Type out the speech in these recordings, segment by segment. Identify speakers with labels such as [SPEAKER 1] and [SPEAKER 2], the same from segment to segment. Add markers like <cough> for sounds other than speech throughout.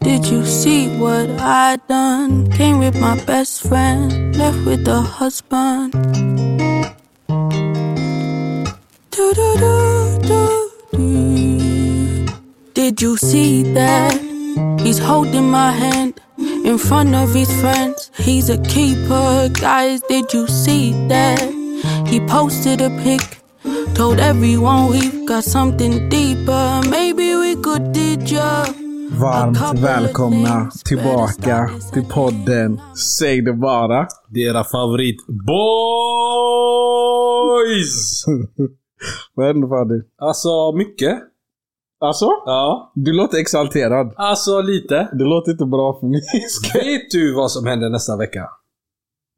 [SPEAKER 1] Can't you see what I done? Came with my best friend, left with the husband. Do do do do do. Did you see that? He's holding my hand in front of his friends. He's a keeper, guys. Did you see that? He posted a pic, told everyone we've got something deeper. Maybe we could did ya.
[SPEAKER 2] Varmt välkomna tillbaka till podden Säg det bara.
[SPEAKER 3] Det är era favorit boys!
[SPEAKER 2] <laughs> Vad händer Fadi?
[SPEAKER 3] Alltså mycket.
[SPEAKER 2] Alltså?
[SPEAKER 3] Ja.
[SPEAKER 2] Du låter exalterad.
[SPEAKER 3] Alltså lite.
[SPEAKER 2] Det låter inte bra för min skull.
[SPEAKER 3] <laughs> Vet du vad som händer nästa vecka?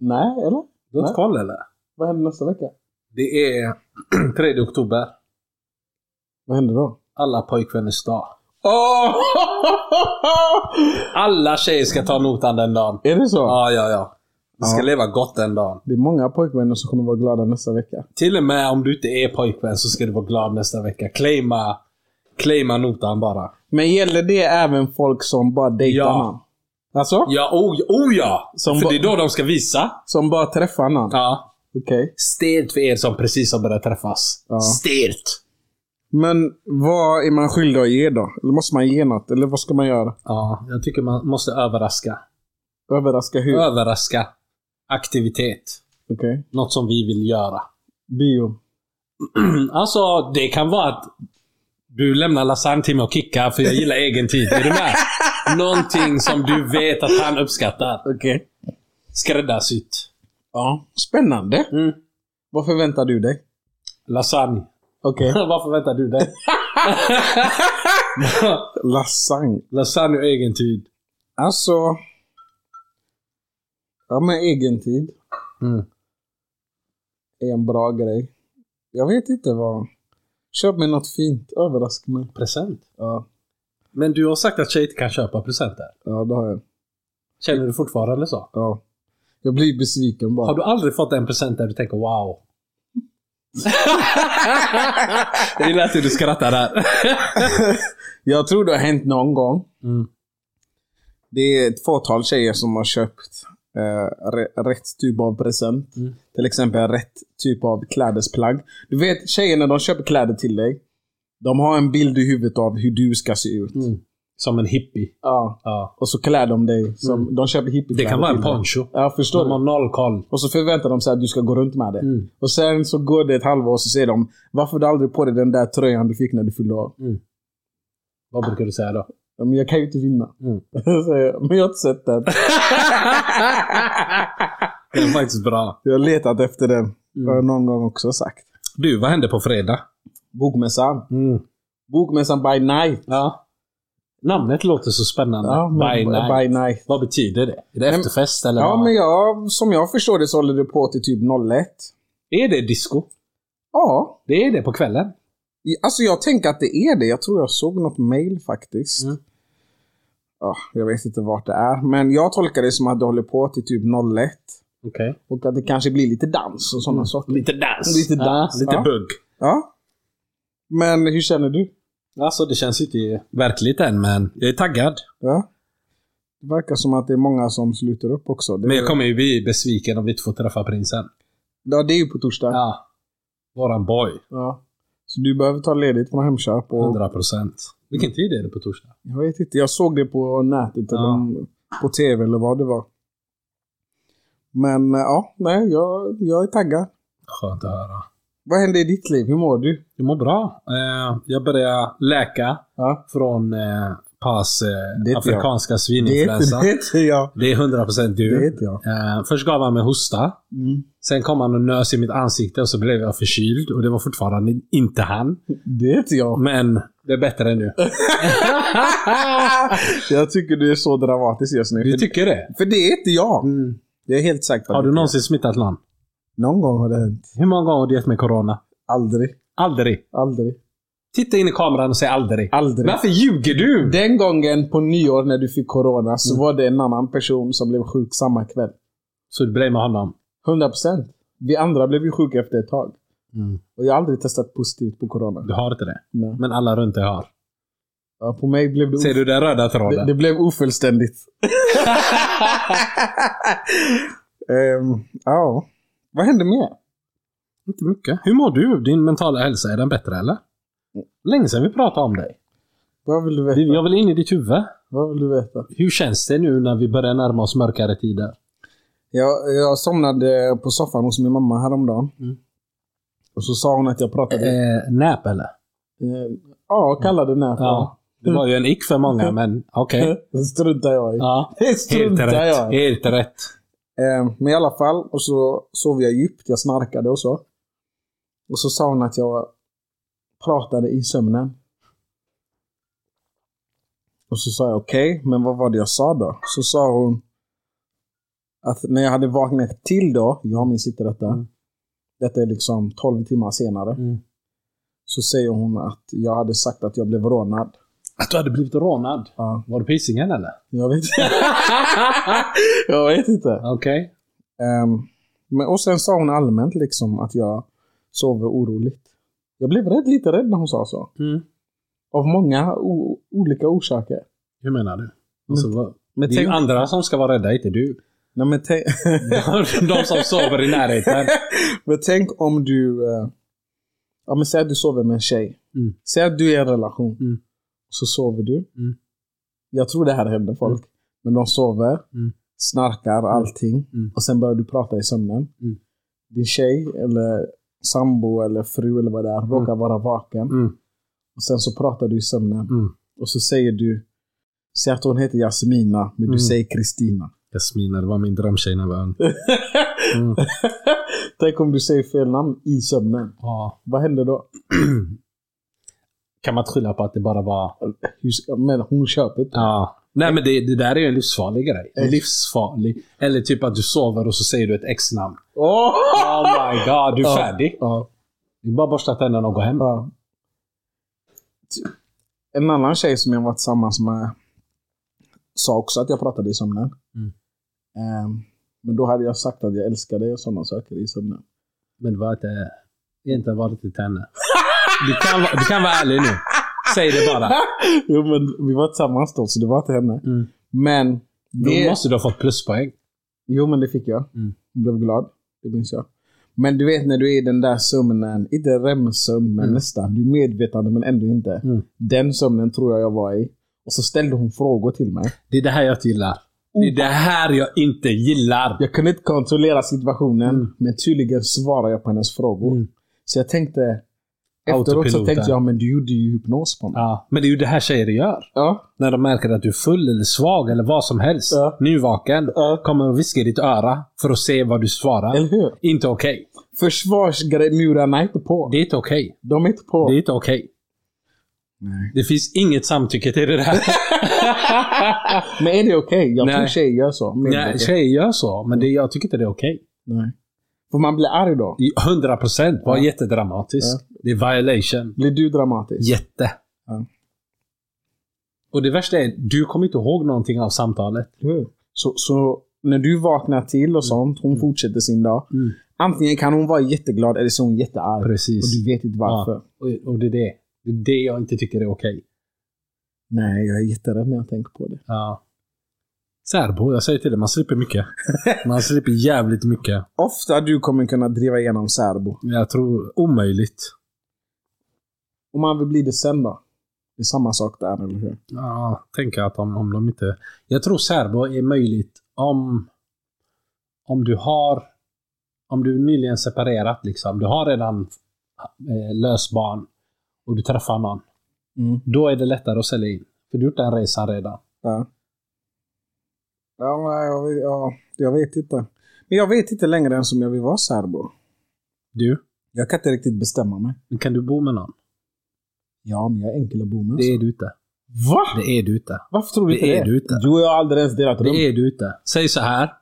[SPEAKER 2] Nej, eller?
[SPEAKER 3] Du har inte koll eller?
[SPEAKER 2] Vad händer nästa vecka?
[SPEAKER 3] Det är <clears throat> 3 oktober.
[SPEAKER 2] Vad händer då?
[SPEAKER 3] Alla pojkvänners dag.
[SPEAKER 2] Åh! <laughs>
[SPEAKER 3] Alla tjejer ska ta notan den dagen.
[SPEAKER 2] Är det så?
[SPEAKER 3] Ja, ja, ja. Du ska
[SPEAKER 2] Ja.
[SPEAKER 3] leva gott den dagen.
[SPEAKER 2] Det är många pojkvänner som kommer vara glada nästa vecka.
[SPEAKER 3] Till och med om du inte är pojkvän så ska du vara glad nästa vecka. Claima, claima notan bara.
[SPEAKER 2] Men gäller det även folk som bara dejtar
[SPEAKER 3] Ja.
[SPEAKER 2] någon? Alltså?
[SPEAKER 3] Ja, oh, oh ja!
[SPEAKER 2] Som
[SPEAKER 3] För
[SPEAKER 2] ba-
[SPEAKER 3] det är då de ska visa.
[SPEAKER 2] Som bara träffar någon?
[SPEAKER 3] Ja.
[SPEAKER 2] Okej.
[SPEAKER 3] Stelt för er som precis har börjat träffas.
[SPEAKER 2] Ja.
[SPEAKER 3] Stelt!
[SPEAKER 2] Men vad är man skyldig att ge då? Eller måste man ge något? Eller vad ska man göra?
[SPEAKER 3] Ja, jag tycker man måste överraska.
[SPEAKER 2] Överraska hur? Okej.
[SPEAKER 3] Överraska. Aktivitet. Något som vi vill göra.
[SPEAKER 2] Bio.
[SPEAKER 3] alltså, det kan vara att du lämnar lasagne till mig och kickar för jag gillar egen tid. Är du <laughs> med? Någonting som du vet att han uppskattar.
[SPEAKER 2] Okej.
[SPEAKER 3] Skräddarsytt.
[SPEAKER 2] Ja. Spännande.
[SPEAKER 3] Mm.
[SPEAKER 2] Vad förväntar du dig?
[SPEAKER 3] Lasagne. <laughs>
[SPEAKER 2] Okej.
[SPEAKER 3] Vad förväntar du dig?
[SPEAKER 2] Lasagne.
[SPEAKER 3] lasagne och egen tid.
[SPEAKER 2] Alltså... Ja men egen tid
[SPEAKER 3] Mm.
[SPEAKER 2] är en bra grej. Jag vet inte vad... Köp mig något fint. Överraska mig.
[SPEAKER 3] Present.
[SPEAKER 2] Ja,
[SPEAKER 3] Men du har sagt att tjejer inte kan köpa presenter.
[SPEAKER 2] ja det har jag.
[SPEAKER 3] Känner du fortfarande så?
[SPEAKER 2] Ja. Jag blir besviken bara.
[SPEAKER 3] Har du aldrig fått en present där du tänker wow? <laughs> Jag gillar att du skrattar där.
[SPEAKER 2] Jag tror det har hänt någon gång.
[SPEAKER 3] Mm.
[SPEAKER 2] Det är ett fåtal tjejer som har köpt eh, re- rätt typ av present.
[SPEAKER 3] Mm.
[SPEAKER 2] Till exempel rätt typ av klädesplagg. Du vet tjejer när de köper kläder till dig. De har en bild i huvudet av hur du ska se ut.
[SPEAKER 3] Mm. Som en hippie.
[SPEAKER 2] Ja.
[SPEAKER 3] Ja.
[SPEAKER 2] Och så klär de dig. Som, De köper
[SPEAKER 3] Mm. Det
[SPEAKER 2] hippiekläder
[SPEAKER 3] kan vara en
[SPEAKER 2] till dig.
[SPEAKER 3] poncho.
[SPEAKER 2] Ja, förstår
[SPEAKER 3] De har
[SPEAKER 2] du?
[SPEAKER 3] noll koll.
[SPEAKER 2] Och så förväntar de sig att du ska gå runt med det.
[SPEAKER 3] Mm.
[SPEAKER 2] Och sen så går det ett halvår och så säger de Varför har du aldrig på dig den där tröjan du fick när du fyllde år?
[SPEAKER 3] Vad brukar du säga då? <laughs>
[SPEAKER 2] Ja, Men jag kan ju inte vinna.
[SPEAKER 3] Mm.
[SPEAKER 2] <laughs> Så jag, men jag har inte sett den.
[SPEAKER 3] Det är faktiskt bra.
[SPEAKER 2] Jag har letat efter den.
[SPEAKER 3] Mm.
[SPEAKER 2] Har jag någon gång också sagt.
[SPEAKER 3] Du, vad hände på fredag?
[SPEAKER 2] Bokmässan.
[SPEAKER 3] Mm.
[SPEAKER 2] Bokmässan by night.
[SPEAKER 3] Ja. Namnet låter så spännande.
[SPEAKER 2] men-
[SPEAKER 3] by night.
[SPEAKER 2] By night.
[SPEAKER 3] Vad betyder det? Är det
[SPEAKER 2] men-
[SPEAKER 3] efterfest eller?
[SPEAKER 2] Ja,
[SPEAKER 3] vad?
[SPEAKER 2] men jag, som jag förstår det så håller det på till typ 01.
[SPEAKER 3] Är det disco?
[SPEAKER 2] Ja.
[SPEAKER 3] Det är det på kvällen.
[SPEAKER 2] I- Alltså jag tänker att det är det. Jag tror jag såg något mail faktiskt.
[SPEAKER 3] Mm.
[SPEAKER 2] Ja, jag vet inte vart det är. Men jag tolkar det som att det håller på till typ 01.
[SPEAKER 3] Okej.
[SPEAKER 2] Och att det kanske blir lite dans och sådana saker.
[SPEAKER 3] Mm. Lite dans.
[SPEAKER 2] Lite dans,
[SPEAKER 3] Ja, lite
[SPEAKER 2] ja.
[SPEAKER 3] bugg.
[SPEAKER 2] Ja. Men hur känner du?
[SPEAKER 3] Alltså det känns inte verkligt än men jag är taggad.
[SPEAKER 2] Ja. Det verkar som att det är många som sluter upp också. Det,
[SPEAKER 3] Men jag kommer ju bli besviken om vi inte får träffa prinsen.
[SPEAKER 2] ja, det är ju på torsdag.
[SPEAKER 3] Ja. Våran boy.
[SPEAKER 2] Ja. Så du behöver ta ledigt från Hemköp. Och
[SPEAKER 3] 100 procent. Vilken tid är det på torsdag?
[SPEAKER 2] jag vet inte, jag såg det på nätet eller
[SPEAKER 3] Ja.
[SPEAKER 2] om- på tv eller vad det var. Men eh, ja, nej, jag, jag är taggad.
[SPEAKER 3] Skönt att höra.
[SPEAKER 2] Vad händer i ditt liv? Hur mår du?
[SPEAKER 3] Jag mår bra. Eh, Jag börjar läka
[SPEAKER 2] Ja.
[SPEAKER 3] från eh, Pas eh,
[SPEAKER 2] Det är inte jag.
[SPEAKER 3] afrikanska
[SPEAKER 2] Det är inte
[SPEAKER 3] svininfluensa.
[SPEAKER 2] det är inte jag.
[SPEAKER 3] Det är 100 procent
[SPEAKER 2] Det är
[SPEAKER 3] du.
[SPEAKER 2] inte jag.
[SPEAKER 3] Eh, Först gav han mig hosta.
[SPEAKER 2] Mm.
[SPEAKER 3] Sen kom han och nös i mitt ansikte och så blev jag förkyld. Och det var fortfarande inte han.
[SPEAKER 2] Det är inte jag.
[SPEAKER 3] Men det är bättre nu.
[SPEAKER 2] Jag tycker du är så dramatisk just nu.
[SPEAKER 3] Du
[SPEAKER 2] För,
[SPEAKER 3] tycker det?
[SPEAKER 2] för det är inte jag. Jag är helt säker på
[SPEAKER 3] Har
[SPEAKER 2] att det
[SPEAKER 3] du
[SPEAKER 2] inte
[SPEAKER 3] någonsin smittat någon?
[SPEAKER 2] är jag. Någon gång har det hänt.
[SPEAKER 3] Hur många gånger har du gett mig corona?
[SPEAKER 2] Aldrig.
[SPEAKER 3] Aldrig.
[SPEAKER 2] Aldrig.
[SPEAKER 3] Titta in i kameran och säg aldrig.
[SPEAKER 2] Aldrig.
[SPEAKER 3] Varför ljuger du?
[SPEAKER 2] Den gången på nyår när du fick corona så
[SPEAKER 3] Mm.
[SPEAKER 2] var det en annan person som blev sjuk samma kväll.
[SPEAKER 3] Så du blamear honom?
[SPEAKER 2] 100 procent. Vi andra blev ju sjuka efter ett tag.
[SPEAKER 3] Mm.
[SPEAKER 2] Och jag har aldrig testat positivt på corona.
[SPEAKER 3] Du har inte det?
[SPEAKER 2] Nej.
[SPEAKER 3] Men alla runt dig har?
[SPEAKER 2] Ja, på mig blev det,
[SPEAKER 3] Ser
[SPEAKER 2] of-
[SPEAKER 3] du den röda
[SPEAKER 2] det,
[SPEAKER 3] tråden?
[SPEAKER 2] det blev <laughs> ofullständigt. Ehm, ja. Vad hände mer?
[SPEAKER 3] Inte mycket. Hur mår du? Din mentala hälsa, är den bättre eller? Länge sedan vi pratade om dig.
[SPEAKER 2] Vad vill du veta?
[SPEAKER 3] Jag vill in i ditt huvud.
[SPEAKER 2] Vad vill du veta?
[SPEAKER 3] Hur känns det nu när vi börjar närma oss mörkare tider?
[SPEAKER 2] Jag, jag somnade på soffan hos min mamma häromdagen.
[SPEAKER 3] Mm.
[SPEAKER 2] Och så sa hon att jag pratade...
[SPEAKER 3] Eh, näp eller?
[SPEAKER 2] eh, Ja, kallade den här på. <laughs>
[SPEAKER 3] Ja. Det var ju en ick för många, men okej.
[SPEAKER 2] Det struntar jag
[SPEAKER 3] <laughs>
[SPEAKER 2] i.
[SPEAKER 3] Ja.
[SPEAKER 2] Det
[SPEAKER 3] <laughs> Helt
[SPEAKER 2] struntar
[SPEAKER 3] rätt.
[SPEAKER 2] jag i.
[SPEAKER 3] Helt rätt.
[SPEAKER 2] Eh, Men i alla fall, och så sov jag djupt. Jag snarkade och så. Och så sa hon att jag pratade i sömnen. Och så sa jag okej, men vad var det jag sa då? Så sa hon att när jag hade vaknat till då, jag minns inte detta.
[SPEAKER 3] Mm.
[SPEAKER 2] Detta är liksom 12 timmar senare.
[SPEAKER 3] Mm.
[SPEAKER 2] Så säger hon att jag hade sagt att jag blev rånad.
[SPEAKER 3] Att du hade blivit rånad.
[SPEAKER 2] Ja,
[SPEAKER 3] Var det på Hisingen eller?
[SPEAKER 2] jag vet inte. <laughs> jag vet inte.
[SPEAKER 3] Okej.
[SPEAKER 2] Ehm, men, och sen sa hon allmänt liksom att jag sover oroligt. Jag blev rädd, lite rädd när hon sa så.
[SPEAKER 3] Mm.
[SPEAKER 2] Av många o- olika orsaker.
[SPEAKER 3] Hur menar du? Alltså, vad?
[SPEAKER 2] Men
[SPEAKER 3] Det är ju
[SPEAKER 2] tänk,
[SPEAKER 3] andra som ska vara rädda, inte du.
[SPEAKER 2] nej, men, tänk,
[SPEAKER 3] <laughs>
[SPEAKER 2] <laughs>
[SPEAKER 3] De som sover i närheten.
[SPEAKER 2] men tänk om du... eh, ja, men säg att du sover med en tjej.
[SPEAKER 3] Mm.
[SPEAKER 2] Säg att du är i en relation.
[SPEAKER 3] Mm.
[SPEAKER 2] Så sover du.
[SPEAKER 3] Mm.
[SPEAKER 2] Jag tror det här händer folk. Men de sover,
[SPEAKER 3] Mm.
[SPEAKER 2] snarkar, allting.
[SPEAKER 3] Mm.
[SPEAKER 2] Och sen börjar du prata i sömnen.
[SPEAKER 3] Mm.
[SPEAKER 2] Din tjej, eller sambo, eller fru eller vad det är, råkar vara vaken.
[SPEAKER 3] <laughs> Mm.
[SPEAKER 2] Och sen så pratar du i sömnen.
[SPEAKER 3] Mm.
[SPEAKER 2] Och så säger du, säg att hon heter Jasmina, men du
[SPEAKER 3] Mm.
[SPEAKER 2] säger Kristina.
[SPEAKER 3] Jasmina, det var min drömtjej när jag var ung. Mm.
[SPEAKER 2] Tänk om du säger fel namn i sömnen.
[SPEAKER 3] Ja.
[SPEAKER 2] Vad händer då?
[SPEAKER 3] Kan man skylla på att det bara var...
[SPEAKER 2] Hur- Men hon köper inte.
[SPEAKER 3] Ja. Nej men det, det där är ju en livsfarlig grej. En
[SPEAKER 2] Ex.
[SPEAKER 3] livsfarlig. Eller typ att du sover och så säger du ett ex-namn.
[SPEAKER 2] Åh!
[SPEAKER 3] Oh my god, du är
[SPEAKER 2] Ja.
[SPEAKER 3] färdig.
[SPEAKER 2] Ja.
[SPEAKER 3] Du bara borsta tänderna och gå hem.
[SPEAKER 2] Ja. En annan tjej som jag var tillsammans med sa också att jag pratade i sömnen.
[SPEAKER 3] Mm.
[SPEAKER 2] Ehm, men då hade jag sagt att jag älskar dig och sådana saker i sömnen.
[SPEAKER 3] Men det var inte... Inte varit till henne. Du kan, vara- du kan vara ärlig nu. Säg det bara.
[SPEAKER 2] jo, men vi var tillsammans då, så det var inte henne.
[SPEAKER 3] Mm.
[SPEAKER 2] Men
[SPEAKER 3] Då
[SPEAKER 2] det,
[SPEAKER 3] måste du ha fått pluspoäng.
[SPEAKER 2] Jo, men det fick jag.
[SPEAKER 3] Mm.
[SPEAKER 2] Hon blev glad. Det minns jag. Men du vet när du är i den där sömnen, inte REM-sömn, men
[SPEAKER 3] Mm.
[SPEAKER 2] nästan. Du är medvetande men ändå inte.
[SPEAKER 3] Mm.
[SPEAKER 2] Den sömnen tror jag jag var i. Och så ställde hon frågor till mig.
[SPEAKER 3] Det är det här jag inte gillar. Det är det här jag inte gillar.
[SPEAKER 2] Jag kunde inte kontrollera situationen,
[SPEAKER 3] Mm.
[SPEAKER 2] men tydligen svarade jag på hennes frågor.
[SPEAKER 3] Mm.
[SPEAKER 2] Så jag tänkte... Efteråt så
[SPEAKER 3] Autopiloten.
[SPEAKER 2] tänkte jag, men du gjorde ju hypnos på mig.
[SPEAKER 3] Ja, men det är ju det här tjejer gör.
[SPEAKER 2] Ja.
[SPEAKER 3] När de märker att du är full eller svag eller vad som helst.
[SPEAKER 2] Ja.
[SPEAKER 3] Nyvaken.
[SPEAKER 2] Ja.
[SPEAKER 3] Kommer och viskar i ditt öra för att se vad du svarar.
[SPEAKER 2] Eller hur?
[SPEAKER 3] Inte okej.
[SPEAKER 2] Försvarsmurarna är inte på.
[SPEAKER 3] Det är inte okej.
[SPEAKER 2] De är inte på.
[SPEAKER 3] Det är inte okej.
[SPEAKER 2] Nej.
[SPEAKER 3] Det finns inget samtycke till det
[SPEAKER 2] <laughs>
[SPEAKER 3] där.
[SPEAKER 2] Men är det okej? Jag tror
[SPEAKER 3] Nej.
[SPEAKER 2] tjejer gör så.
[SPEAKER 3] Nej,
[SPEAKER 2] medvetet.
[SPEAKER 3] tjejer gör så, men det, jag tycker inte det är okej.
[SPEAKER 2] Nej. För man blir arg då.
[SPEAKER 3] I 100 procent. Var
[SPEAKER 2] Ja.
[SPEAKER 3] jättedramatisk. Det är violation.
[SPEAKER 2] Blir du dramatisk?
[SPEAKER 3] Jätte.
[SPEAKER 2] Ja.
[SPEAKER 3] Och det värsta är, du kommer inte ihåg någonting av samtalet.
[SPEAKER 2] Hur? Så, så när du vaknar till och sånt, hon fortsätter sin dag.
[SPEAKER 3] Mm.
[SPEAKER 2] Antingen kan hon vara jätteglad eller så är hon jättearg.
[SPEAKER 3] Precis.
[SPEAKER 2] Och du vet inte varför.
[SPEAKER 3] Och, och det är det. Det är det jag inte tycker är okej.
[SPEAKER 2] Nej, jag är jätterädd när jag tänker på det.
[SPEAKER 3] Ja. Särbo, jag säger till dig, man slipper
[SPEAKER 2] <laughs>
[SPEAKER 3] mycket. Man slipper jävligt mycket.
[SPEAKER 2] Ofta du kommer kunna driva igenom särbo.
[SPEAKER 3] Jag tror omöjligt.
[SPEAKER 2] Om man vill bli det sen då? Det är samma sak där, eller hur?
[SPEAKER 3] Ja, tänker jag att om, om de inte... Jag tror särbo är möjligt om, om du har... Om du nyligen separerat liksom. Du har redan eh, löst barn och du träffar någon.
[SPEAKER 2] Mm.
[SPEAKER 3] Då är det lättare att sälja in. För du har gjort den resan redan.
[SPEAKER 2] Ja. Ja, nej, jag, vet, ja, jag vet inte. Men jag vet inte längre än som jag vill vara särbo.
[SPEAKER 3] Du,
[SPEAKER 2] Jag kan inte riktigt bestämma mig.
[SPEAKER 3] nu kan du bo med någon?
[SPEAKER 2] Ja, men jag är enkel att bo med.
[SPEAKER 3] Det är du inte.
[SPEAKER 2] Va?
[SPEAKER 3] Det är du inte.
[SPEAKER 2] Varför tror du
[SPEAKER 3] Det
[SPEAKER 2] inte
[SPEAKER 3] är du inte.
[SPEAKER 2] Du och jag har aldrig ens delat rum.
[SPEAKER 3] Det är du inte. Säg så här.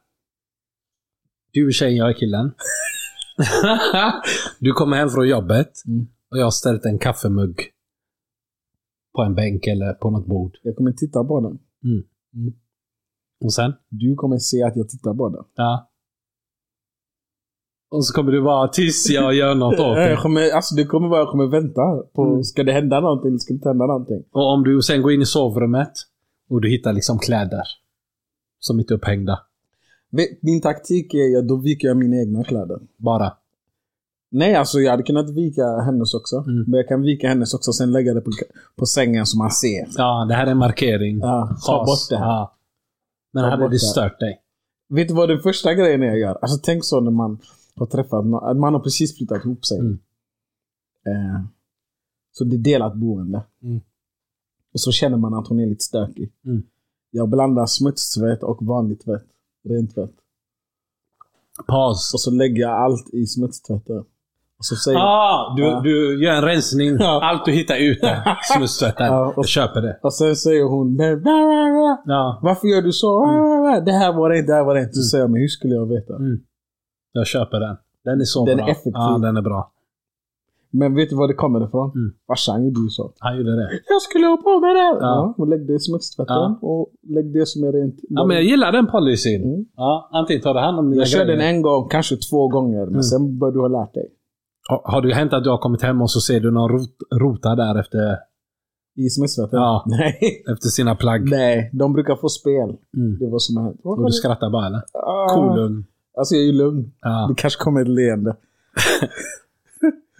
[SPEAKER 3] Du är tjejen, jag är
[SPEAKER 2] <laughs>
[SPEAKER 3] killen. du kommer hem från jobbet
[SPEAKER 2] Mm.
[SPEAKER 3] och jag har ställt en kaffemugg på en bänk eller på något bord.
[SPEAKER 2] Jag kommer titta på den.
[SPEAKER 3] Och sen?
[SPEAKER 2] Du kommer se att jag tittar på den.
[SPEAKER 3] Ja. Och så kommer du bara tills jag gör något åt
[SPEAKER 2] Jag
[SPEAKER 3] det.
[SPEAKER 2] <laughs> kommer, alltså, det kommer vara, jag kommer vänta på,
[SPEAKER 3] Mm.
[SPEAKER 2] ska det hända någonting eller ska det inte hända någonting?
[SPEAKER 3] Och om du sen går in i sovrummet och du hittar liksom kläder som inte är upphängda.
[SPEAKER 2] Vet- Min taktik är att då viker jag mina egna kläder.
[SPEAKER 3] Bara.
[SPEAKER 2] Nej, alltså jag hade kunnat vika hennes också.
[SPEAKER 3] Mm.
[SPEAKER 2] Men jag kan vika hennes också och sen lägga det på, på sängen som man ser.
[SPEAKER 3] Ja, det här är en markering.
[SPEAKER 2] Ja, ta
[SPEAKER 3] Fas.
[SPEAKER 2] bort det här.
[SPEAKER 3] Ja. Men
[SPEAKER 2] Ta
[SPEAKER 3] hade
[SPEAKER 2] bort
[SPEAKER 3] det
[SPEAKER 2] det.
[SPEAKER 3] stört dig?
[SPEAKER 2] Vet du vad den första grejen är jag gör? Alltså tänk så när man har träffat någon, att man har precis flyttat ihop sig.
[SPEAKER 3] Mm.
[SPEAKER 2] Eh, så det är delat boende.
[SPEAKER 3] Mm.
[SPEAKER 2] Och så känner man att hon är lite stökig.
[SPEAKER 3] Mm.
[SPEAKER 2] Jag blandar smutstvätt och vanligt tvätt. Rent tvätt.
[SPEAKER 3] Paus.
[SPEAKER 2] Och så lägger jag allt i smutstvätten. Och så säger
[SPEAKER 3] Ah, du,
[SPEAKER 2] Ja.
[SPEAKER 3] du gör en rensning.
[SPEAKER 2] Ja.
[SPEAKER 3] Allt du hittar ute.
[SPEAKER 2] <laughs>
[SPEAKER 3] Smutstvätten.
[SPEAKER 2] Ja, och-
[SPEAKER 3] Jag köper det.
[SPEAKER 2] Och sen säger hon "Men, bla, bla, bla.
[SPEAKER 3] Ja.
[SPEAKER 2] Varför gör du så? Bla, bla, bla. Det här var det inte, det här var det inte. Så säger jag, men hur skulle jag veta?
[SPEAKER 3] Mm. Jag köper den. Den är så
[SPEAKER 2] Den
[SPEAKER 3] bra.
[SPEAKER 2] är effektiv.
[SPEAKER 3] Ja, den är bra.
[SPEAKER 2] Men vet du var det kommer ifrån?
[SPEAKER 3] Mm.
[SPEAKER 2] Farsan gjorde ju så.
[SPEAKER 3] Han gjorde det.
[SPEAKER 2] Jag skulle ha på mig det! Ja.
[SPEAKER 3] Ja.
[SPEAKER 2] och lägg det i smutstvätten
[SPEAKER 3] Ja.
[SPEAKER 2] och lägg det som är rent.
[SPEAKER 3] Ja, men jag gillar den policyn.
[SPEAKER 2] Mm.
[SPEAKER 3] Ja, antingen tar du hand om dina
[SPEAKER 2] jag körde den
[SPEAKER 3] grejer.
[SPEAKER 2] en gång, kanske två gånger, men
[SPEAKER 3] Mm.
[SPEAKER 2] sen bör du ha lärt dig.
[SPEAKER 3] Har, har det hänt att du har kommit hem och så ser du någon rot, rota där efter,
[SPEAKER 2] I smutstvätten?
[SPEAKER 3] Ja.
[SPEAKER 2] <laughs> Nej.
[SPEAKER 3] efter sina plagg?
[SPEAKER 2] Nej, de brukar få spel.
[SPEAKER 3] Mm.
[SPEAKER 2] Det var som hänt.
[SPEAKER 3] Och du skrattar bara eller?
[SPEAKER 2] Ah.
[SPEAKER 3] Kolugn.
[SPEAKER 2] Alltså jag är ju lugn.
[SPEAKER 3] Ja.
[SPEAKER 2] Det kanske kommer ett leende.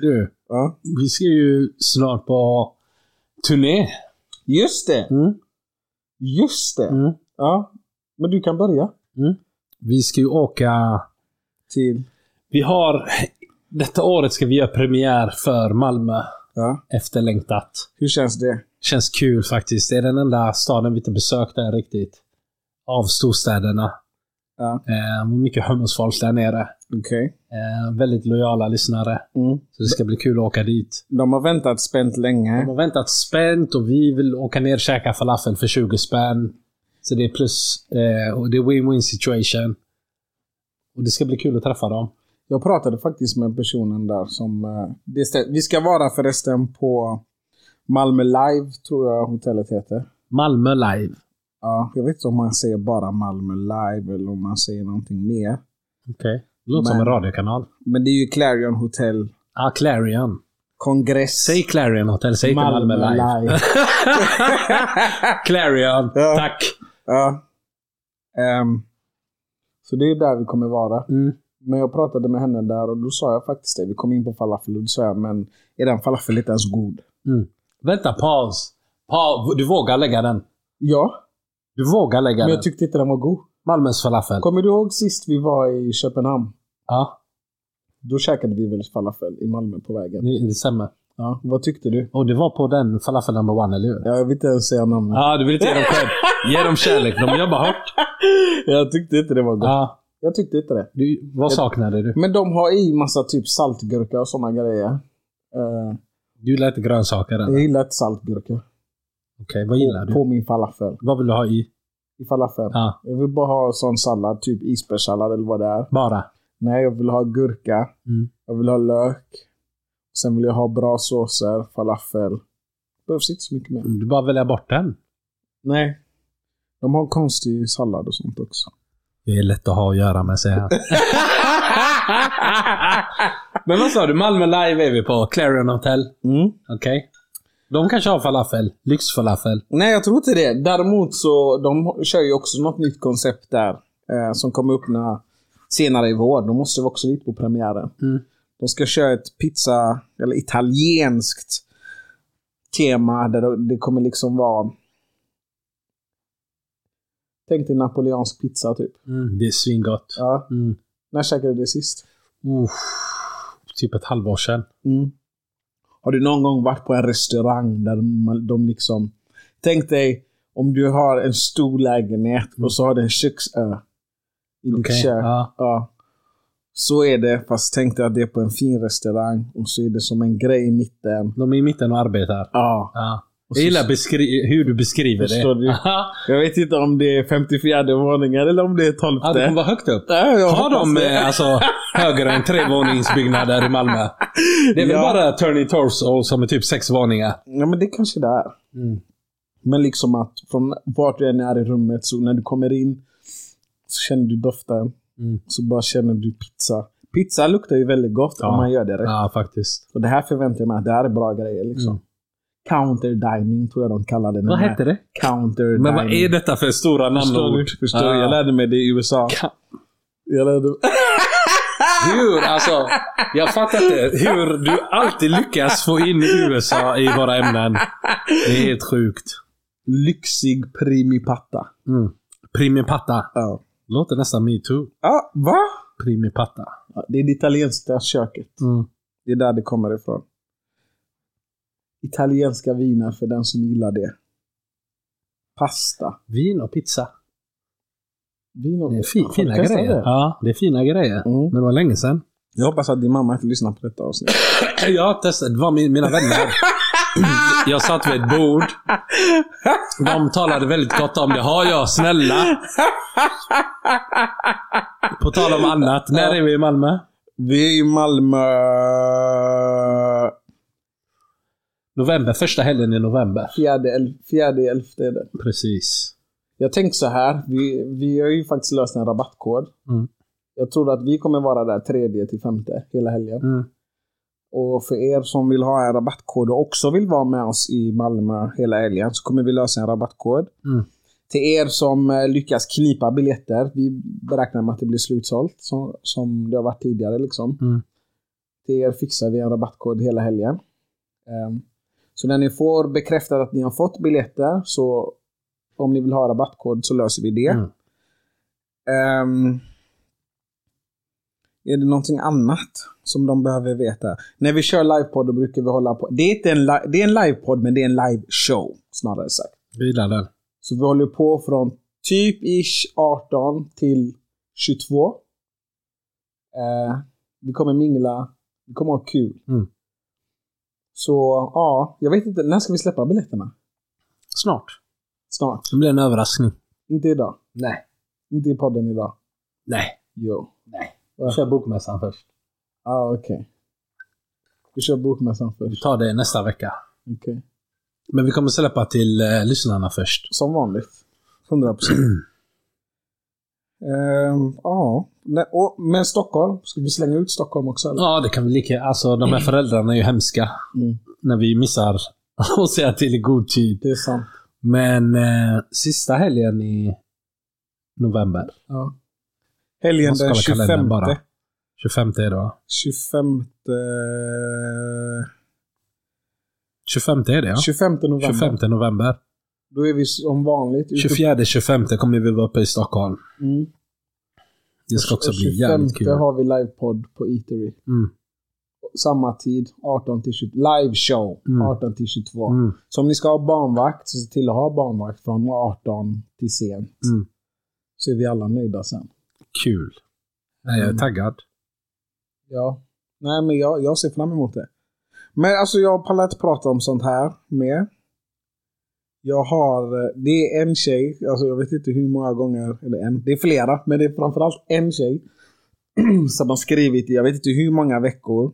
[SPEAKER 3] Du,
[SPEAKER 2] Ja.
[SPEAKER 3] vi ska ju snart på turné.
[SPEAKER 2] Just det!
[SPEAKER 3] Mm.
[SPEAKER 2] Just det! Ja. Men du kan börja.
[SPEAKER 3] Vi ska ju åka...
[SPEAKER 2] Till?
[SPEAKER 3] Vi har... Detta året ska vi göra premiär för Malmö.
[SPEAKER 2] Ja.
[SPEAKER 3] Efterlängtat.
[SPEAKER 2] Hur känns det?
[SPEAKER 3] Känns kul faktiskt. Det är den enda staden vi inte besökt där riktigt. Av storstäderna.
[SPEAKER 2] Ja.
[SPEAKER 3] Eh, mycket hummusfolk där nere.
[SPEAKER 2] Okej.
[SPEAKER 3] Eh, väldigt lojala lyssnare.
[SPEAKER 2] Mm.
[SPEAKER 3] Så det ska bli kul att åka dit.
[SPEAKER 2] De har väntat spänt länge.
[SPEAKER 3] De har väntat spänt och vi vill åka ner och käka falafel för 20 spänn. Så det är plus. Eh, och det är win-win situation. Och det ska bli kul att träffa dem.
[SPEAKER 2] Jag pratade faktiskt med personen där som... eh, Det stä- vi ska vara förresten på Malmö Live, tror jag hotellet heter.
[SPEAKER 3] Malmö live.
[SPEAKER 2] Ja, jag vet inte om man säger bara Malmö Live eller om man säger någonting mer.
[SPEAKER 3] Okej. Låter som
[SPEAKER 2] Men-
[SPEAKER 3] en radiokanal.
[SPEAKER 2] Men det är ju Clarion Hotel
[SPEAKER 3] Ah, Clarion.
[SPEAKER 2] Kongress.
[SPEAKER 3] Säg Clarion Hotel, säg inte Malmö, live. <laughs> Clarion.
[SPEAKER 2] Ja.
[SPEAKER 3] Tack.
[SPEAKER 2] ja. Ehm, så det är där vi kommer vara.
[SPEAKER 3] Mm.
[SPEAKER 2] Men jag pratade med henne där och då sa jag faktiskt det. Vi kom in på falafel och då sa jag, men är den falafel inte ens god?
[SPEAKER 3] mm. Vänta, paus. Pa du vågar lägga den.
[SPEAKER 2] Ja,
[SPEAKER 3] Du vågar lägga
[SPEAKER 2] men
[SPEAKER 3] den.
[SPEAKER 2] jag tyckte inte den var god.
[SPEAKER 3] Malmös falafel.
[SPEAKER 2] Kommer du ihåg sist vi var i Köpenhamn?
[SPEAKER 3] Ja,
[SPEAKER 2] Då käkade vi väl falafel i Malmö på vägen.
[SPEAKER 3] nu- det stämmer.
[SPEAKER 2] Ja, vad tyckte du?
[SPEAKER 3] Och det var på den falafel number one, eller hur?
[SPEAKER 2] Ja, jag vill inte ens säga
[SPEAKER 3] <laughs>
[SPEAKER 2] namnet.
[SPEAKER 3] Ja, du vill inte ge dem cred. Ge dem kärlek. De jobbar hårt.
[SPEAKER 2] Jag tyckte inte det var gott.
[SPEAKER 3] Ja,
[SPEAKER 2] Jag tyckte inte det.
[SPEAKER 3] du, vad saknade du?
[SPEAKER 2] Men de har i massa typ saltgurka och sådana grejer. Eh,
[SPEAKER 3] Du gillar inte grönsaker eller?
[SPEAKER 2] jag
[SPEAKER 3] Okej,
[SPEAKER 2] gillar inte saltgurka
[SPEAKER 3] vad gillar du?
[SPEAKER 2] Mm. på min falafel.
[SPEAKER 3] Vad vill du ha i?
[SPEAKER 2] I falafeln.
[SPEAKER 3] Ja,
[SPEAKER 2] Jag vill bara ha en sån sallad, typ isbergssallad eller vad det är.
[SPEAKER 3] bara.
[SPEAKER 2] Nej, jag vill ha gurka.
[SPEAKER 3] Mm.
[SPEAKER 2] Jag vill ha lök. Sen vill jag ha bra såser, falafel. Behövs inte så mycket mer.
[SPEAKER 3] Mm, Du bara väljer bort den.
[SPEAKER 2] Nej. De har en konstig sallad och sånt <laughs> också.
[SPEAKER 3] Det är lätt att ha att göra med, säger han. <laughs> Men vad sa du? Malmö Live är vi på. Clarion Hotel.
[SPEAKER 2] Mm.
[SPEAKER 3] Okej. De kanske har falafel. Lyxfalafel.
[SPEAKER 2] Nej, jag tror inte det. Däremot så de kör ju också något nytt koncept där eh, som kommer upp när, senare i vår. De måste vara också dit på premiären.
[SPEAKER 3] Mm.
[SPEAKER 2] De ska köra ett pizza, eller italienskt tema där det- det kommer liksom vara... Tänk dig napoleansk pizza typ.
[SPEAKER 3] Det är svingott.
[SPEAKER 2] Ja.
[SPEAKER 3] Mm.
[SPEAKER 2] När käkade du det sist?
[SPEAKER 3] Uff, typ ett halvår sedan.
[SPEAKER 2] Mm. Har du någon gång varit på en restaurang där man, de liksom... Tänk dig om du har en stor lägenhet och så har du en köksö i ditt
[SPEAKER 3] Mm. Okej,
[SPEAKER 2] kök. Ja.
[SPEAKER 3] Ja.
[SPEAKER 2] Så är det, fast tänk dig att det är på en fin restaurang och så är det som en grej i mitten.
[SPEAKER 3] De är i mitten och arbetar.
[SPEAKER 2] Ja.
[SPEAKER 3] Ja. Jag
[SPEAKER 2] Och så-
[SPEAKER 3] gillar beskri- hur du beskriver <laughs>
[SPEAKER 2] Förstår
[SPEAKER 3] det.
[SPEAKER 2] du?
[SPEAKER 3] Aha.
[SPEAKER 2] Jag vet inte om det är 54 våningen eller om det är 12.
[SPEAKER 3] Ja, det kommer vara högt upp.
[SPEAKER 2] Ja, jag
[SPEAKER 3] Har
[SPEAKER 2] hoppas
[SPEAKER 3] de
[SPEAKER 2] det.
[SPEAKER 3] eh, alltså, högre än trevåningsbyggnader i Malmö? Det är väl
[SPEAKER 2] Ja.
[SPEAKER 3] bara Turning Torso som är typ sex våningar?
[SPEAKER 2] Ja, men det kanske det är.
[SPEAKER 3] Mm.
[SPEAKER 2] Men liksom att från vart du än är i rummet, så när du kommer in så känner du doften.
[SPEAKER 3] Mm.
[SPEAKER 2] Så bara känner du pizza. Pizza luktar ju väldigt gott om
[SPEAKER 3] Ja.
[SPEAKER 2] man gör det rätt.
[SPEAKER 3] Ja, faktiskt.
[SPEAKER 2] Och det här förväntar jag mig att det här är bra grejer. Liksom.
[SPEAKER 3] Mm.
[SPEAKER 2] Counter dining tror jag de kallar det.
[SPEAKER 3] Vad heter det?
[SPEAKER 2] Counter dining.
[SPEAKER 3] Men vad är detta för stora
[SPEAKER 2] Förstår,
[SPEAKER 3] namnord?
[SPEAKER 2] du? förstår du?
[SPEAKER 3] Ja.
[SPEAKER 2] Jag lärde mig det i USA.
[SPEAKER 3] Ka-
[SPEAKER 2] Jag lärde...
[SPEAKER 3] Hur? Alltså, jag fattar inte hur du alltid lyckas få in USA i våra ämnen. Det är helt sjukt.
[SPEAKER 2] Lyxig primipatta.
[SPEAKER 3] Mm. Primipatta.
[SPEAKER 2] Ja.
[SPEAKER 3] Låter nästan metoo.
[SPEAKER 2] Ah, va?
[SPEAKER 3] Primipatta.
[SPEAKER 2] Ja, det är det italienska köket.
[SPEAKER 3] Mm.
[SPEAKER 2] Det är där det kommer ifrån. Italienska viner för den som gillar det. Pasta.
[SPEAKER 3] Vin och pizza.
[SPEAKER 2] Vin och...
[SPEAKER 3] Det är fi-
[SPEAKER 2] Har
[SPEAKER 3] fina
[SPEAKER 2] du testat
[SPEAKER 3] grejer.
[SPEAKER 2] det?
[SPEAKER 3] Ja, det är fina grejer.
[SPEAKER 2] Mm.
[SPEAKER 3] Men det var länge sedan. <clears throat>
[SPEAKER 2] Jag hoppas att din mamma inte lyssnar på detta avsnitt.
[SPEAKER 3] Jag har testat. Det var min, mina vänner. <clears throat> Jag satt vid ett bord. De talade väldigt gott om det. Har jag, snälla. På tal om annat. När är vi i Malmö?
[SPEAKER 2] Vi är i Malmö...
[SPEAKER 3] November. Första helgen i november.
[SPEAKER 2] Fjärde, el- fjärde i elfte är det.
[SPEAKER 3] Precis.
[SPEAKER 2] Jag tänkte så här. Vi, vi har ju faktiskt löst en rabattkod.
[SPEAKER 3] Mm.
[SPEAKER 2] Jag tror att vi kommer vara där tredje till femte hela helgen.
[SPEAKER 3] Mm.
[SPEAKER 2] Och för er som vill ha en rabattkod och också vill vara med oss i Malmö hela helgen så kommer vi lösa en rabattkod.
[SPEAKER 3] Mm.
[SPEAKER 2] Till er som eh, lyckas knipa biljetter. Vi beräknar med att det blir slutsålt som, som det har varit tidigare. Liksom.
[SPEAKER 3] Mm.
[SPEAKER 2] Till er fixar vi en rabattkod hela helgen. Ehm, så när ni får bekräftat att ni har fått biljetter så om ni vill ha rabattkod så löser vi det.
[SPEAKER 3] Mm.
[SPEAKER 2] Ehm, är det någonting annat som de behöver veta? När vi kör livepodd då brukar vi hålla på. Det är, inte en, li- det är en livepodd men det är en liveshow snarare sagt.
[SPEAKER 3] Vi gillar den.
[SPEAKER 2] Så vi håller på från typ ish 18 till 22. Eh, vi kommer mingla, vi kommer ha kul.
[SPEAKER 3] Mm.
[SPEAKER 2] Så ja, jag vet inte, när ska vi släppa biljetterna?
[SPEAKER 3] Snart.
[SPEAKER 2] Snart.
[SPEAKER 3] Det blir en överraskning.
[SPEAKER 2] Inte idag.
[SPEAKER 3] Nej.
[SPEAKER 2] Inte i podden idag.
[SPEAKER 3] Nej.
[SPEAKER 2] Jo.
[SPEAKER 3] Vi kör bokmässan först.
[SPEAKER 2] Ja, ah, okej. Vi kör bokmässan
[SPEAKER 3] Vi
[SPEAKER 2] först.
[SPEAKER 3] tar det nästa vecka.
[SPEAKER 2] Okej.
[SPEAKER 3] Men vi kommer släppa till eh, lyssnarna först.
[SPEAKER 2] Som vanligt.
[SPEAKER 3] <clears throat>
[SPEAKER 2] 100 procent. Ehm, Ja. Nej, och- Men Stockholm? Ska vi slänga ut Stockholm också? Eller?
[SPEAKER 3] Ja, det kan vi lika. Alltså, de här föräldrarna är ju hemska.
[SPEAKER 2] Mm.
[SPEAKER 3] När vi missar <laughs> att säga till i god tid.
[SPEAKER 2] Det är sant.
[SPEAKER 3] Men eh, sista helgen i november.
[SPEAKER 2] Ja. Helgen
[SPEAKER 3] Måste
[SPEAKER 2] den
[SPEAKER 3] kolla
[SPEAKER 2] 25.
[SPEAKER 3] kalendern bara. 25 är det va?
[SPEAKER 2] 25,
[SPEAKER 3] 25 är det ja.
[SPEAKER 2] 25 november.
[SPEAKER 3] 25 november.
[SPEAKER 2] Då är vi som vanligt ute.
[SPEAKER 3] 24-25 kommer vi vara uppe i Stockholm.
[SPEAKER 2] Mm.
[SPEAKER 3] Det ska också bli
[SPEAKER 2] 25
[SPEAKER 3] jävligt kul.
[SPEAKER 2] har vi livepodd på Eatery.
[SPEAKER 3] Mm.
[SPEAKER 2] Samma tid, 18 till 22. Live show,
[SPEAKER 3] Mm.
[SPEAKER 2] 18 till 22.
[SPEAKER 3] Mm.
[SPEAKER 2] Så om ni ska ha barnvakt, så se till att ha barnvakt från 18 till sent.
[SPEAKER 3] Mm.
[SPEAKER 2] Så är vi alla nöjda sen.
[SPEAKER 3] Kul. Nej, jag är
[SPEAKER 2] Mm.
[SPEAKER 3] taggad.
[SPEAKER 2] Ja. Nej, men jag, jag ser fram emot det. Men alltså jag pallar inte prata om sånt här mer. Jag har, eh, det är en tjej, alltså jag vet inte hur många gånger, eller en, det är flera, men det är framförallt en tjej <clears throat> som har skrivit i, jag vet inte hur många veckor,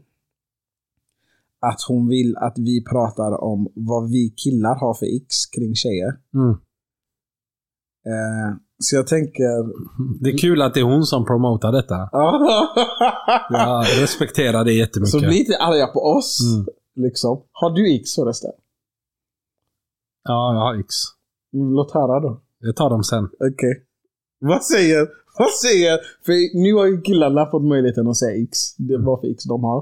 [SPEAKER 2] att hon vill att vi pratar om vad vi killar har för x kring tjejer.
[SPEAKER 3] Mm.
[SPEAKER 2] Eh, så jag tänker... <laughs>
[SPEAKER 3] Det är kul att det är hon som promotar detta. Jag respekterar det jättemycket.
[SPEAKER 2] Ah. så bli inte arga på oss.
[SPEAKER 3] Mm.
[SPEAKER 2] Liksom. Har du X förresten?
[SPEAKER 3] Ja, jag har X.
[SPEAKER 2] Mm, Låt höra då.
[SPEAKER 3] Jag tar dem sen.
[SPEAKER 2] Okej. Vad säger... Vad säger... För nu har ju killarna fått möjligheten att säga X. Det
[SPEAKER 3] Mm.
[SPEAKER 2] var för X de har.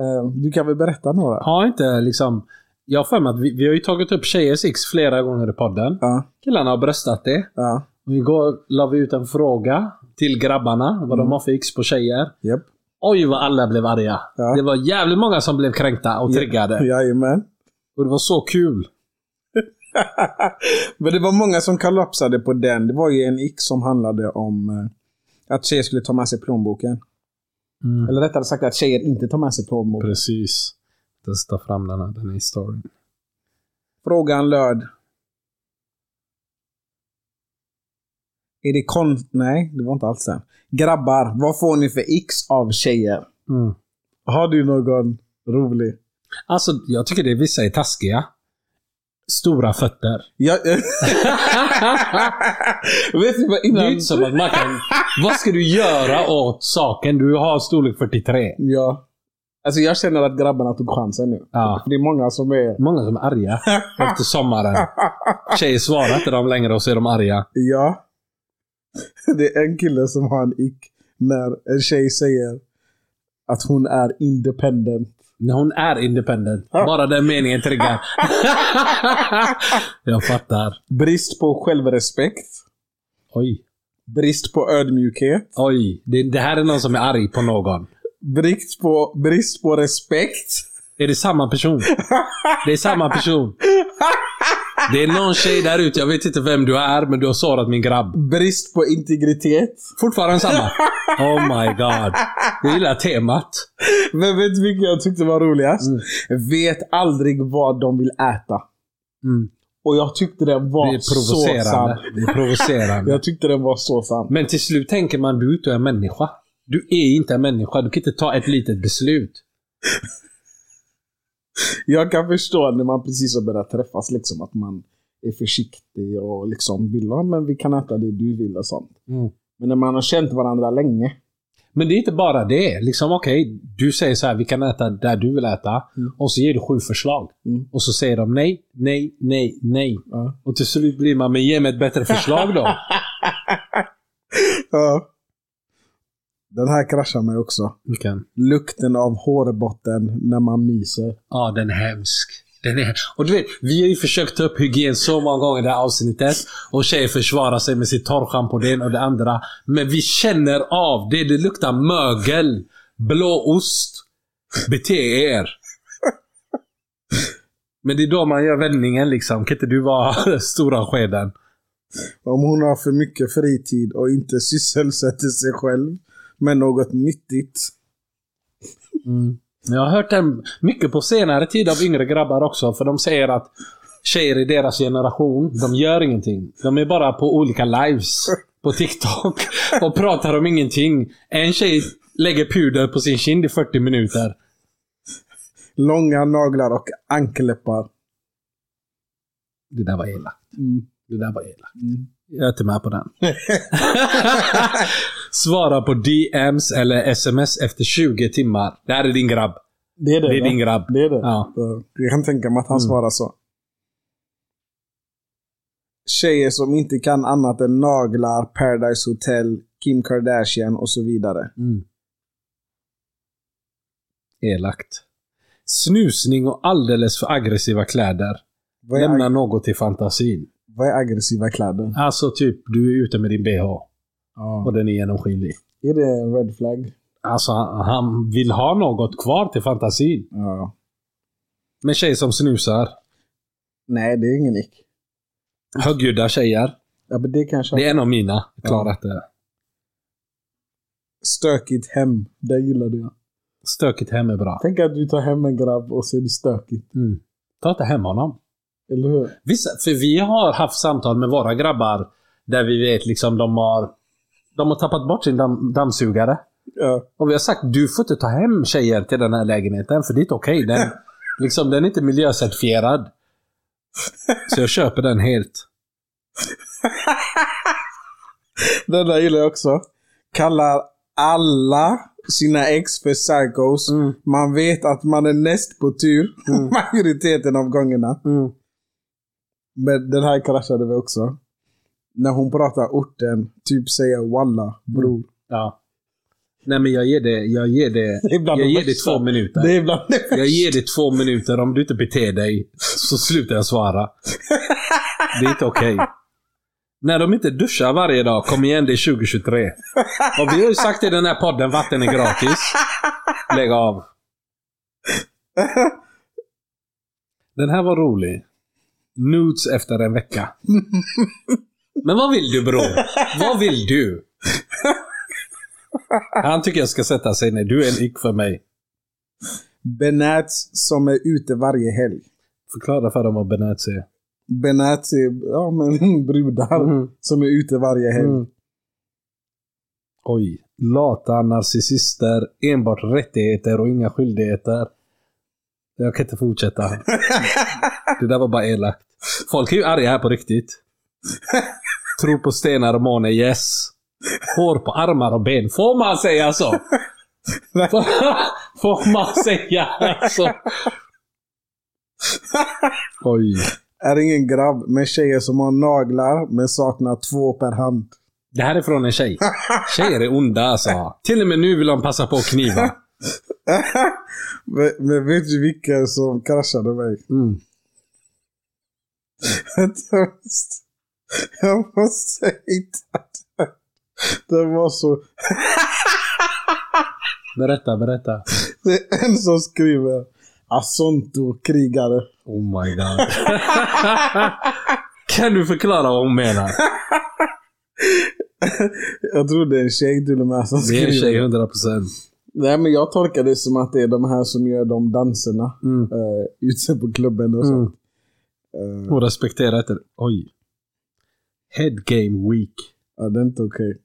[SPEAKER 2] Eh, du kan väl berätta några?
[SPEAKER 3] Har inte liksom... Jag har för mig att vi, vi har ju tagit upp tjejers X flera gånger i podden.
[SPEAKER 2] Ja.
[SPEAKER 3] Killarna har bröstat det.
[SPEAKER 2] Ja.
[SPEAKER 3] Och igår la vi ut en fråga till grabbarna vad de
[SPEAKER 2] Mm.
[SPEAKER 3] har för X på tjejer.
[SPEAKER 2] Japp.
[SPEAKER 3] Oj vad alla blev arga.
[SPEAKER 2] Ja.
[SPEAKER 3] Det var jävligt många som blev kränkta och
[SPEAKER 2] Ja.
[SPEAKER 3] triggade.
[SPEAKER 2] Jajamän.
[SPEAKER 3] Och det var så kul.
[SPEAKER 2] Men det var många som kollapsade på den. Det var ju en X som handlade om eh, att tjejer skulle ta med sig plånboken. Eller rättare sagt att tjejer inte tar med sig plånboken.
[SPEAKER 3] Precis. Jag ska ta fram den här, den här storyn.
[SPEAKER 2] Frågan löd. Är det kon... Nej, det var inte alls den. Grabbar, vad får ni för x av tjejer?
[SPEAKER 3] Mm.
[SPEAKER 2] Har du någon rolig?
[SPEAKER 3] Alltså, jag tycker det vissa är taskiga. stora fötter.
[SPEAKER 2] Jag, <laughs> vet du vad
[SPEAKER 3] Det är ju
[SPEAKER 2] innan...
[SPEAKER 3] inte som att man kan... <laughs> Vad ska du göra åt saken? Du har storlek 43.
[SPEAKER 2] Ja. Alltså jag känner att grabbarna tog chansen nu.
[SPEAKER 3] Ja.
[SPEAKER 2] För det är många som är...
[SPEAKER 3] Många som är <laughs> arga efter sommaren. Tjejer svarar inte dem längre och så är de arga.
[SPEAKER 2] Ja. <laughs> Det är en kille som har en ick när en tjej säger att hon är independent.
[SPEAKER 3] När hon är independent. Bara den meningen <laughs> triggar. Jag fattar.
[SPEAKER 2] Brist på självrespekt.
[SPEAKER 3] Oj.
[SPEAKER 2] Brist på ödmjukhet.
[SPEAKER 3] Oj. Det, det här är någon som är arg på någon.
[SPEAKER 2] Brist på, brist på respekt.
[SPEAKER 3] Är det samma person? Det är samma person. Det är någon tjej där ute, jag vet inte vem du är, men du har sårat min grabb.
[SPEAKER 2] Brist på integritet.
[SPEAKER 3] Fortfarande samma. Oh my god. Jag gillar temat.
[SPEAKER 2] Men vet du vilket jag tyckte var roligast? Vet aldrig vad de vill äta.
[SPEAKER 3] Mm.
[SPEAKER 2] Och jag tyckte den
[SPEAKER 3] Det
[SPEAKER 2] var
[SPEAKER 3] är
[SPEAKER 2] så sann.
[SPEAKER 3] provocerande. Det är provocerande.
[SPEAKER 2] Jag tyckte den var så sann.
[SPEAKER 3] Men till slut tänker man, du är inte en människa. Du är inte en människa. Du kan inte ta ett litet beslut.
[SPEAKER 2] Jag kan förstå när man precis har börjat träffas, liksom, att man är försiktig och liksom vill ha, men vi kan äta det du vill och sånt. Men när man har känt varandra länge.
[SPEAKER 3] Men det är inte bara det. Liksom, okej, du säger så här, vi kan äta där du vill äta.
[SPEAKER 2] Mm.
[SPEAKER 3] Och så ger du sju förslag.
[SPEAKER 2] Mm.
[SPEAKER 3] Och så säger de nej, nej, nej, nej.
[SPEAKER 2] Ja.
[SPEAKER 3] Och till slut blir man, men ge mig ett bättre förslag då.
[SPEAKER 2] Den här kraschar mig också.
[SPEAKER 3] Vilken?
[SPEAKER 2] Lukten av hårbotten när man myser.
[SPEAKER 3] Ja, den är hemsk. Den är... Och du vet, vi har ju försökt ta upp hygien så många gånger i det här avsnittet. Och tjejer försvarar sig med sitt torrschampo, det ena och det andra. Men vi känner av det. Det luktar mögel, blåost. Bete er. Men det är då man gör vändningen liksom. Kan inte du vara <laughs> stora skeden?
[SPEAKER 2] Om hon har för mycket fritid och inte sysselsätter sig själv med något nyttigt. Mm.
[SPEAKER 3] Men Jag har hört den mycket på senare tid av yngre grabbar också. För de säger att tjejer i deras generation, de gör ingenting. De är bara på olika lives på
[SPEAKER 2] <laughs>
[SPEAKER 3] TikTok och pratar om ingenting. En tjej lägger puder på sin kind i 40 minuter.
[SPEAKER 2] Långa naglar och ankläppar.
[SPEAKER 3] Det där var elakt.
[SPEAKER 2] Mm.
[SPEAKER 3] Det där var elakt.
[SPEAKER 2] Mm.
[SPEAKER 3] Jag är inte med på
[SPEAKER 2] <laughs>
[SPEAKER 3] den. Svara på DMs eller SMS efter 20 timmar. Det här är din grabb.
[SPEAKER 2] Det är det.
[SPEAKER 3] Det är
[SPEAKER 2] va?
[SPEAKER 3] din grabb.
[SPEAKER 2] Det är det.
[SPEAKER 3] Ja.
[SPEAKER 2] Jag kan tänka mig att han
[SPEAKER 3] Mm.
[SPEAKER 2] svarar så. Tjejer som inte kan annat än naglar, Paradise Hotel, Kim Kardashian och så vidare.
[SPEAKER 3] Mm. Elakt. Snusning och alldeles för aggressiva kläder.
[SPEAKER 2] Vad är,
[SPEAKER 3] Lämna
[SPEAKER 2] ag-
[SPEAKER 3] något till fantasin.
[SPEAKER 2] vad är aggressiva kläder?
[SPEAKER 3] Alltså typ, du är ute med din bh och den är genomskinlig.
[SPEAKER 2] Är det en red flag?
[SPEAKER 3] Alltså han, han vill ha något kvar till fantasin.
[SPEAKER 2] Ja.
[SPEAKER 3] Men tjejer som snusar,
[SPEAKER 2] Nej, det är ingen ick.
[SPEAKER 3] högljudda tjejer.
[SPEAKER 2] Ja, men det kanske
[SPEAKER 3] Det är en av mina. Jag klarat det.
[SPEAKER 2] Stökigt hem. Det gillade jag.
[SPEAKER 3] Stökigt hem är bra.
[SPEAKER 2] Tänk att du tar hem en grabb och så är det stökigt.
[SPEAKER 3] Mm. Ta inte hem honom.
[SPEAKER 2] Eller hur?
[SPEAKER 3] Vissa, för vi har haft samtal med våra grabbar där vi vet liksom de har, de har tappat bort sin damm, dammsugare.
[SPEAKER 2] Ja.
[SPEAKER 3] Och vi har sagt du får inte ta hem tjejer till den här lägenheten för det är inte okej. Den, liksom, den är inte miljöcertifierad. Så jag köper den helt.
[SPEAKER 2] Den där gillar jag också. Kallar alla sina ex för psychos. Man vet att man är näst på tur <laughs> majoriteten av gångerna. Men den här kraschade vi också. När hon pratar orten, typ säger walla, bror.
[SPEAKER 3] Ja. Nej men jag ger det, jag ger det,
[SPEAKER 2] Det är bland
[SPEAKER 3] jag
[SPEAKER 2] det
[SPEAKER 3] ger det
[SPEAKER 2] värsta.
[SPEAKER 3] två minuter.
[SPEAKER 2] Det är <laughs> bland det
[SPEAKER 3] Jag ger dig två minuter. Om du inte beter dig så slutar jag svara. Det är inte okej. När de inte duschar varje dag, kom igen det är 2023. Och vi har ju sagt i den här podden, vatten är gratis. Lägg av. Den här var rolig. Nudes efter en vecka. Men vad vill du bror? Vad vill du? Han tycker jag ska sätta sig ner. Du är en ick för mig.
[SPEAKER 2] Benats som är ute varje helg.
[SPEAKER 3] Förklara för dem vad Benazzi är.
[SPEAKER 2] Benats är ja, men, <laughs> brudar
[SPEAKER 3] Mm.
[SPEAKER 2] som är ute varje helg.
[SPEAKER 3] Oj. Lata narcissister, enbart rättigheter och inga skyldigheter. Jag kan inte fortsätta. Det där var bara elakt. Folk är ju arga här på riktigt. Tror på stenar och måne, yes. Hår på armar och ben. Får man säga så?
[SPEAKER 2] Nej.
[SPEAKER 3] Får- <laughs> Får man säga så? Oj.
[SPEAKER 2] Är ingen grabb med tjejer som har naglar men saknar två per hand. <laughs>
[SPEAKER 3] Det här är från en tjej. Tjejer är onda alltså. Till och med nu vill de passa på att kniva.
[SPEAKER 2] men, men vet du vilka som kraschade mig? <laughs>
[SPEAKER 3] Mm.
[SPEAKER 2] jag måste- jag måste hitta <laughs> den. Den var så...
[SPEAKER 3] Berätta, berätta.
[SPEAKER 2] Det är en som skriver Asonto krigare.
[SPEAKER 3] Oh my god. kan du förklara vad hon menar?
[SPEAKER 2] Jag tror det är en tjej till och med som
[SPEAKER 3] Det är
[SPEAKER 2] skriver.
[SPEAKER 3] en tjej 100%.
[SPEAKER 2] Nej men jag tolkar det som att det är de här som gör de danserna.
[SPEAKER 3] Mm.
[SPEAKER 2] Uh, ute på klubben och
[SPEAKER 3] Mm.
[SPEAKER 2] sånt. Eh,
[SPEAKER 3] Och respektera inte... Oj. Head game week.
[SPEAKER 2] ja, det är inte okej.